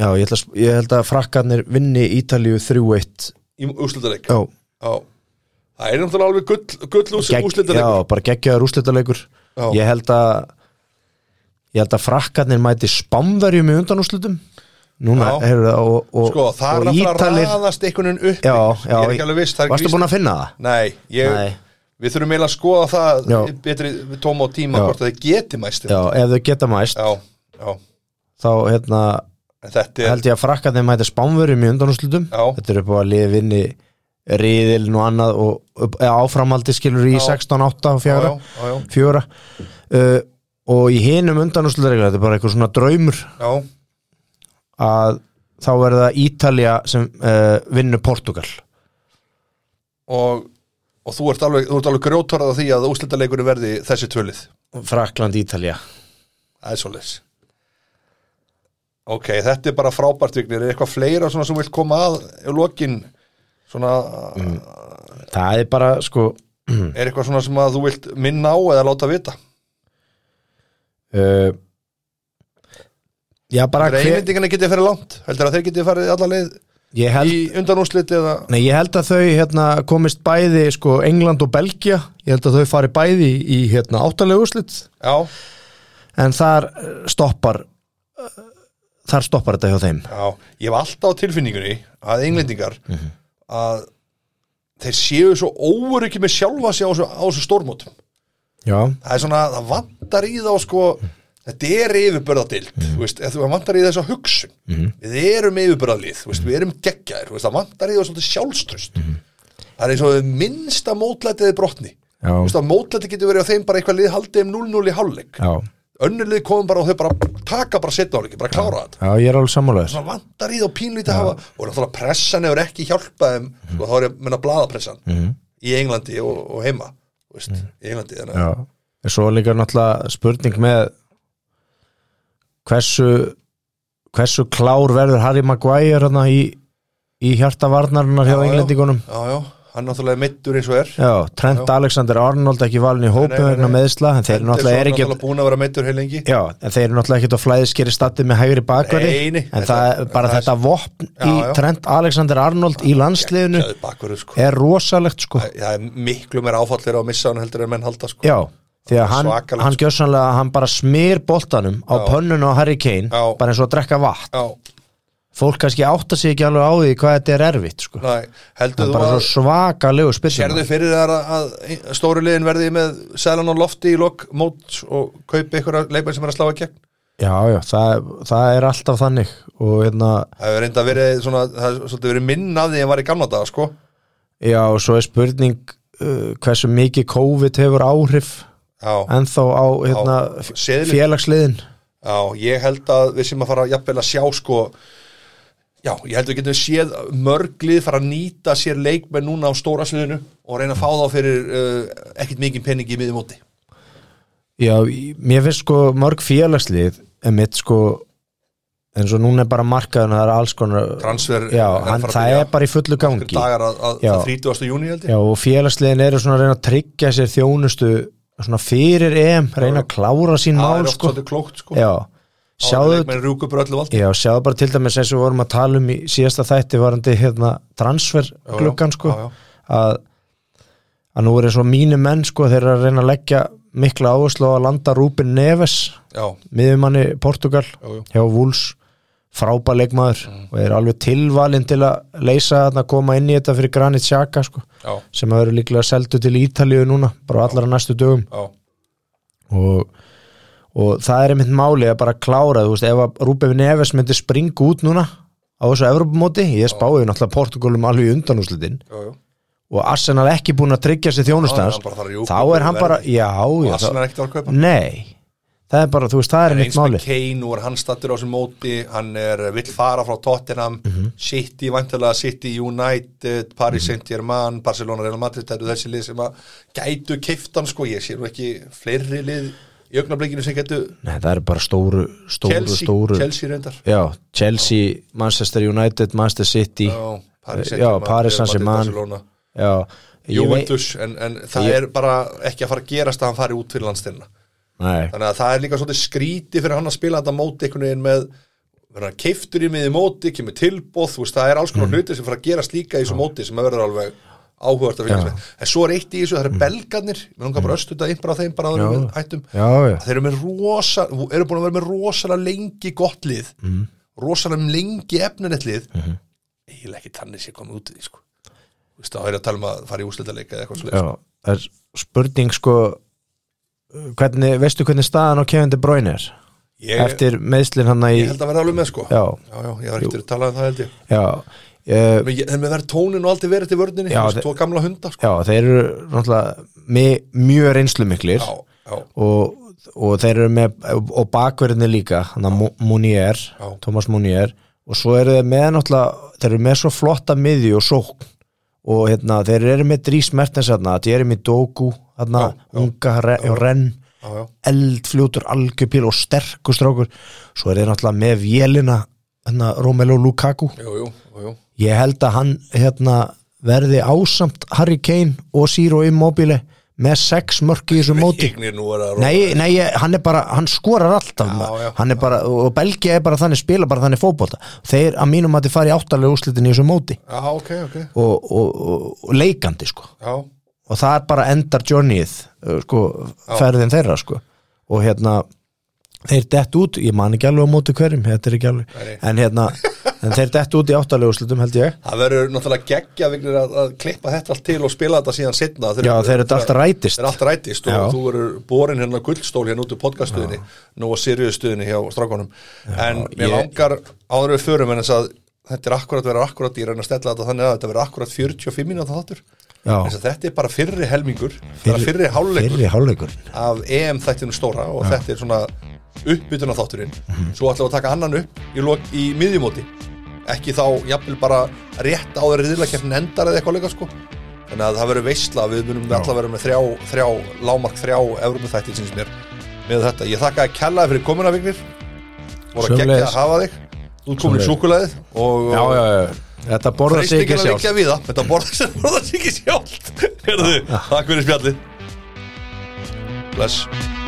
S2: Já, ég held að, ég held að frakkarnir vinni Ítalíu 3-1
S1: í úrslitaleik
S2: Já,
S1: það er náttúrulega alveg gull, gull úrs-
S2: gegg-
S1: úrslitaleikur
S2: já bara geggjaður úrslitaleikur
S1: Já.
S2: Ég held að ég held að frakkarnir mæti spamverjum í undanúrslitum Núna,
S1: Já.
S2: heyrðu það og, og,
S1: Sko, það er
S2: og
S1: náttúrulega
S2: Ítalir
S1: að raðast einhvern veginn upp
S2: Já, já,
S1: Ég er ekki alveg viss, það er ekki
S2: Varstu
S1: víst
S2: búin að finna það?
S1: Nei, ég,
S2: Nei.
S1: við þurfum eiginlega að skoða það
S2: Já.
S1: betri við tóma og tíma
S2: Já.
S1: hvort að þið geti mæst
S2: Já,
S1: þetta.
S2: ef þau geta mæst
S1: já, já,
S2: þá hérna,
S1: en þetta er
S2: held ég að frakkarnir mæti spamverjum í undanúrslitum
S1: Já.
S2: Þetta er upp á að liði vinni riðilin og annað og upp, eða áframhaldi skilur í
S1: Já.
S2: 16, 8 og
S1: já,
S2: 4
S1: já, já, já,
S2: fjóra uh, og í hinum undanúsleika þetta er bara eitthvað svona draumur
S1: já,
S2: að þá verða Ítalja sem uh, vinnur Portugal
S1: og, og þú ert alveg, þú ert alveg grjótorað á því að úslitaleikurinn verði þessi tvölið
S2: Frakland Ítalja
S1: Það er svoleiðis Ok, þetta er bara frábært vignir, er eitthvað fleira svona sem vilt koma að í lokin svona,
S2: Mm, það er bara sko
S1: er eitthvað svona sem að þú vilt minna á eða láta vita
S2: uh, já bara hver,
S1: Reynendingarnir getið fyrir langt, heldur að þeir getið farið alla leið
S2: ég, held,
S1: í undanúslit eða
S2: nei, ég held að þau hérna, komist bæði sko England og Belgia ég held að þau fari bæði í hérna, áttalegu úslit
S1: Já,
S2: en þar eh, stoppar eh, þar stoppar þetta hjá þeim
S1: já, ég hef alltaf á tilfinningunni að englendingar
S2: Mhm.
S1: að þeir séu svo óuriki með sjálfa sig á þessu, á þessu stórmótum
S2: já,
S1: það er svona, það vantar í þá sko þetta er yfirbörðadild
S2: Mhm.
S1: mm. veist, ef þú það vantar í þessa hugsun við erum yfirbörðalið, mm. við erum geggjaðir þú veist, það vantar í þá svolítið sjálfstrust
S2: Mhm.
S1: það er eins og þau minnsta mótlætiði brotni
S2: Já.
S1: Þú veist, að mótlæti getur verið á þeim bara eitthvað lið haldið um 0-0 í hálfleik
S2: já,
S1: önnur lið komum bara og þau bara taka bara setna hálfleik, bara klára þetta
S2: já ég er alveg sammálaður
S1: svona vandar í þá pínlítið að hafa og náttúrulega pressan hefur ekki hjálpað þeim
S2: Mhm.
S1: sko, þá er ég að menna bladapressan -hmm. í Englandi og, og heima þú veist,
S2: Mhm.
S1: í Englandi þannig að
S2: Já, en svo er líka náttúrulega spurning með hversu hversu klár verður Harry Maguire hana, í, í hjartavarnarinnar hjá
S1: Já, já.
S2: englendingunum
S1: Já, já, hann náttúrulega meittur eins og er
S2: Já, Trent Alexander Arnold ekki valin í hópi
S1: Nei, nei,
S2: vegna
S1: nei.
S2: meðsla en þeir eru náttúrulega er ekki
S1: náttúrulega búin að vera meittur heil lengi
S2: Já, en þeir eru náttúrulega ekkert á flæðiskeri statið með hægri bakverði
S1: Nei, nei,
S2: en
S1: þetta-
S2: það er bara
S1: það er-
S2: þetta vopn
S1: Já,
S2: í
S1: já.
S2: Trent Alexander Arnold í landsliðinu
S1: Sjáðu bakverður, sko.
S2: er rosalegt sko
S1: Það það er miklu meira áfallir á að missa hann heldur en menn halda sko.
S2: Já, því að hann,
S1: Svakalegt,
S2: hann
S1: sko.
S2: gjössanlega hann bara smyr boltanum á pönnun á Harry Kane
S1: Já.
S2: bara eins og að drekka vatn
S1: Já,
S2: fólk kannski átta sig ekki alveg á því hvað þetta er erfitt sko.
S1: næ, heldur
S2: það er
S1: þú
S2: bara
S1: að
S2: svo svakalegu spyrsum
S1: Sérðu fyrir þar að, að stóri liðin verði með selan og lofti í lok mót og kaupi ykkur leikmenn sem er að slá að gegn
S2: Já, já, það, það er alltaf þannig og hérna,
S1: Það hefur reynda verið svona, það hefur svolítið verið minn af því en var í gamla daga sko
S2: já, og svo er spurning uh, hversu mikið COVID hefur áhrif
S1: Já,
S2: ennþá á hérna,
S1: Á
S2: f-
S1: seðli.
S2: félagsliðin
S1: já, ég held að við sem að fara jafnvel að sjá sko Já, ég held að við getum séð mörglið fara að nýta sér leikmenn núna á stóra sliðinu og reyna að fá þá fyrir uh, ekkit mikið peningi í miðumóti
S2: Já, í- mér finnst sko mörg félagslið en mitt sko eins og núna er bara markaðun það er alls konar
S1: Transfer er
S2: Já,
S1: að
S2: hann,
S1: fara að
S2: það
S1: byrja.
S2: er bara í fullu gangi
S1: dagar að, að
S2: Já.
S1: að 30. júni held ég
S2: Já, og félagsliðin eru svona að reyna að tryggja sér þjónustu svona fyrir EM reyna að klára sín
S1: það
S2: mál
S1: er oft
S2: sko
S1: svolítið klókt sko
S2: Já, sjáðu
S1: leikmenn rúku bara öllu vald
S2: Já, sjáðu bara til dæmis eins og við vorum að tala um í síðasta þætti varandi hérna transfergluggan sko
S1: já, já.
S2: Að, að nú eru svo mínu menn sko þeir eru að reyna að leggja mikla áherslu á að landa Rúbin Neves
S1: já,
S2: miðumanni Portugal
S1: já, já.
S2: hjá Wools frábær leikmaður og er alveg tilvalinn til að leysa þarna að koma inn í þetta fyrir Granit Xhaka sko
S1: já,
S2: sem að vera líklega seldu til Ítalíu núna bara á allra næstu dögum
S1: já,
S2: og, og það er einmitt máli að bara klára, þú veist, ef að Rúbef Neves myndi springa út núna á þessu Evropamóti, ég spáði náttúrulega Portugalum alveg í undanúslitin
S1: já, já.
S2: og Arsenal ekki búin að tryggja sér þjónustans
S1: Já, hann bara þarf að rjúka
S2: þá
S1: upp
S2: er hann
S1: verðið.
S2: bara, já, já
S1: Assan
S2: þá,
S1: er ekkert að kaupa
S2: nei það er bara, þú veist, það er einmitt
S1: eins með
S2: máli
S1: Kane og hann stattur á sem móti hann er vill fara frá Tottenham
S2: Mhm.
S1: City, vantilega City United Paris Saint-Germain, Barcelona Real Madrid þetta eru þessi lið sem að gætu kiftan sko, ég sé nú ekki fleiri lið í augnablikinu sem gætu
S2: nei, það er bara stóru, stóru,
S1: Chelsea,
S2: stóru
S1: Chelsea reyndar
S2: já, Chelsea, Manchester United Manchester City,
S1: Já, Paris
S2: Já,
S1: Saint-Germain, Real Madrid,
S2: Paris Saint-Germain.
S1: Barcelona.
S2: já, ég veit
S1: Juventus, en, en það
S2: Ég-
S1: er bara ekki að fara að gerast að hann fari út fyrir landstinna
S2: nei,
S1: þannig að það er líka svolítið skríti fyrir hann að spila þetta móti einhvern veginn með verður hann keiftur í miði móti, kemur tilbóð veist, það er alls
S2: Mm.
S1: konar hluti sem fara að gerast líka í þessu móti sem að verður alveg áhugast að
S2: Já. Mm.
S1: fylgjast með en svo er eitt í þessu, það eru belgarnir mér langar bara östuð að innbara þeim bara áður en
S2: Já.
S1: við hættum
S2: já, já
S1: þeir eru, með rosa, eru búin að vera með rosalega lengi gott lið mm. rosalega lengi efnilegt lið
S2: Mhm.
S1: eiginlega ekki tannis ég komið út í því sko. Þú veist, þá er að tala um að fara í úslitaleika eða eitthvað svolítið
S2: Já, það er spurning sko hvernig, veistu hvernig staðan á Kevin De Bruyne er
S1: ég,
S2: eftir meðslinn hann í
S1: ég held að vera alveg með sko
S2: já,
S1: já, já, ég var ekkert að tala um það held ég
S2: já, uh,
S1: Men, ég- en með verð tónin og aldrei verið til vörninni
S2: Já,
S1: já,
S2: þe-
S1: tvo gamla hunda sko.
S2: já, þeir eru náttúrulega mi, mjög reynslu miklir
S1: já, já,
S2: og, og þeir eru með og bakverðinni líka, hann að Mu- Munier
S1: Já.
S2: Thomas Munier og svo eru þeir með náttúrulega, þeir eru með svo flotta miðju og sókn og hérna, þeir eru með Dries Mertens hérna, þeir eru með Doku hérna,
S1: Já, já.
S2: unga re, og renn
S1: já, já,
S2: eldfljótur algjöpil og sterkur strákur svo er þeir náttúrulega með vélina hérna, Romelu Lukaku
S1: jú, jú, jú, jú.
S2: ég held að hann hérna, verði ásamt Harry Kane og Ciro Immobile með sex mörk í þessu móti
S1: Hignir nú er að
S2: nei, nei, ég- hann er bara, hann skorar alltaf
S1: Já, já.
S2: hann er bara, og Belgia er bara þannig spila bara þannig fótbolta, þeir að mínum að þið fari áttalega úrslitin í þessu móti
S1: já, ok, ok,
S2: og, og, og, og leikandi sko
S1: já,
S2: og það er bara endar journeyið uh, sko, ferðin þeirra sko. og hérna þeir dett út, ég man ekki alveg á móti hverjum þetta er ekki
S1: Nei.
S2: alveg en, hérna, en þeir dett út í áttalegu slutum held ég
S1: það verður náttúrulega geggja vignir að, að klippa þetta allt til og spila þetta síðan setna
S2: já þeir eru alltaf rætist
S1: Það er allt rættist og
S2: Já.
S1: þú eru borin hérna gullstól hérna út úr podcastuðinni nú á sirjustuðinni hjá strákonum en mér
S2: ég-
S1: langar áður en við förum en þess að þetta er akkurat verið akkurat ég reyna að stella þetta þannig að þetta verið akkurat 45 mínúta þáttur
S2: Já.
S1: þess að þetta er bara fyrri helmingur fyrri, fyrri hálfleikur
S2: fyrir hálfleikur
S1: af EM þættinu stóra og þetta er svona uppbytuna þátturinn svo ætlum við að taka annan upp í, lok, í miðjumóti ekki þá jafnvel bara rétt áður riðlakeppnin endar eða eitthvað líka sko þannig að það verður veistla við munum alltaf verður með þrjá, þrjá lámark þrjá eurum þættin sinns mér með þetta ég þakka að kella fyrir komuna vignir voru að
S2: Sömuleiðis.
S1: gegja að hafa þig Þú ert komin í súkulæðið og
S2: já, já, já, þetta borðar sig ekki
S1: freystingin að
S2: sjálf
S1: liggja við það Þetta borðar sig- borðar sig ekki sjálft Hérðu, takk fyrir spjallið Bless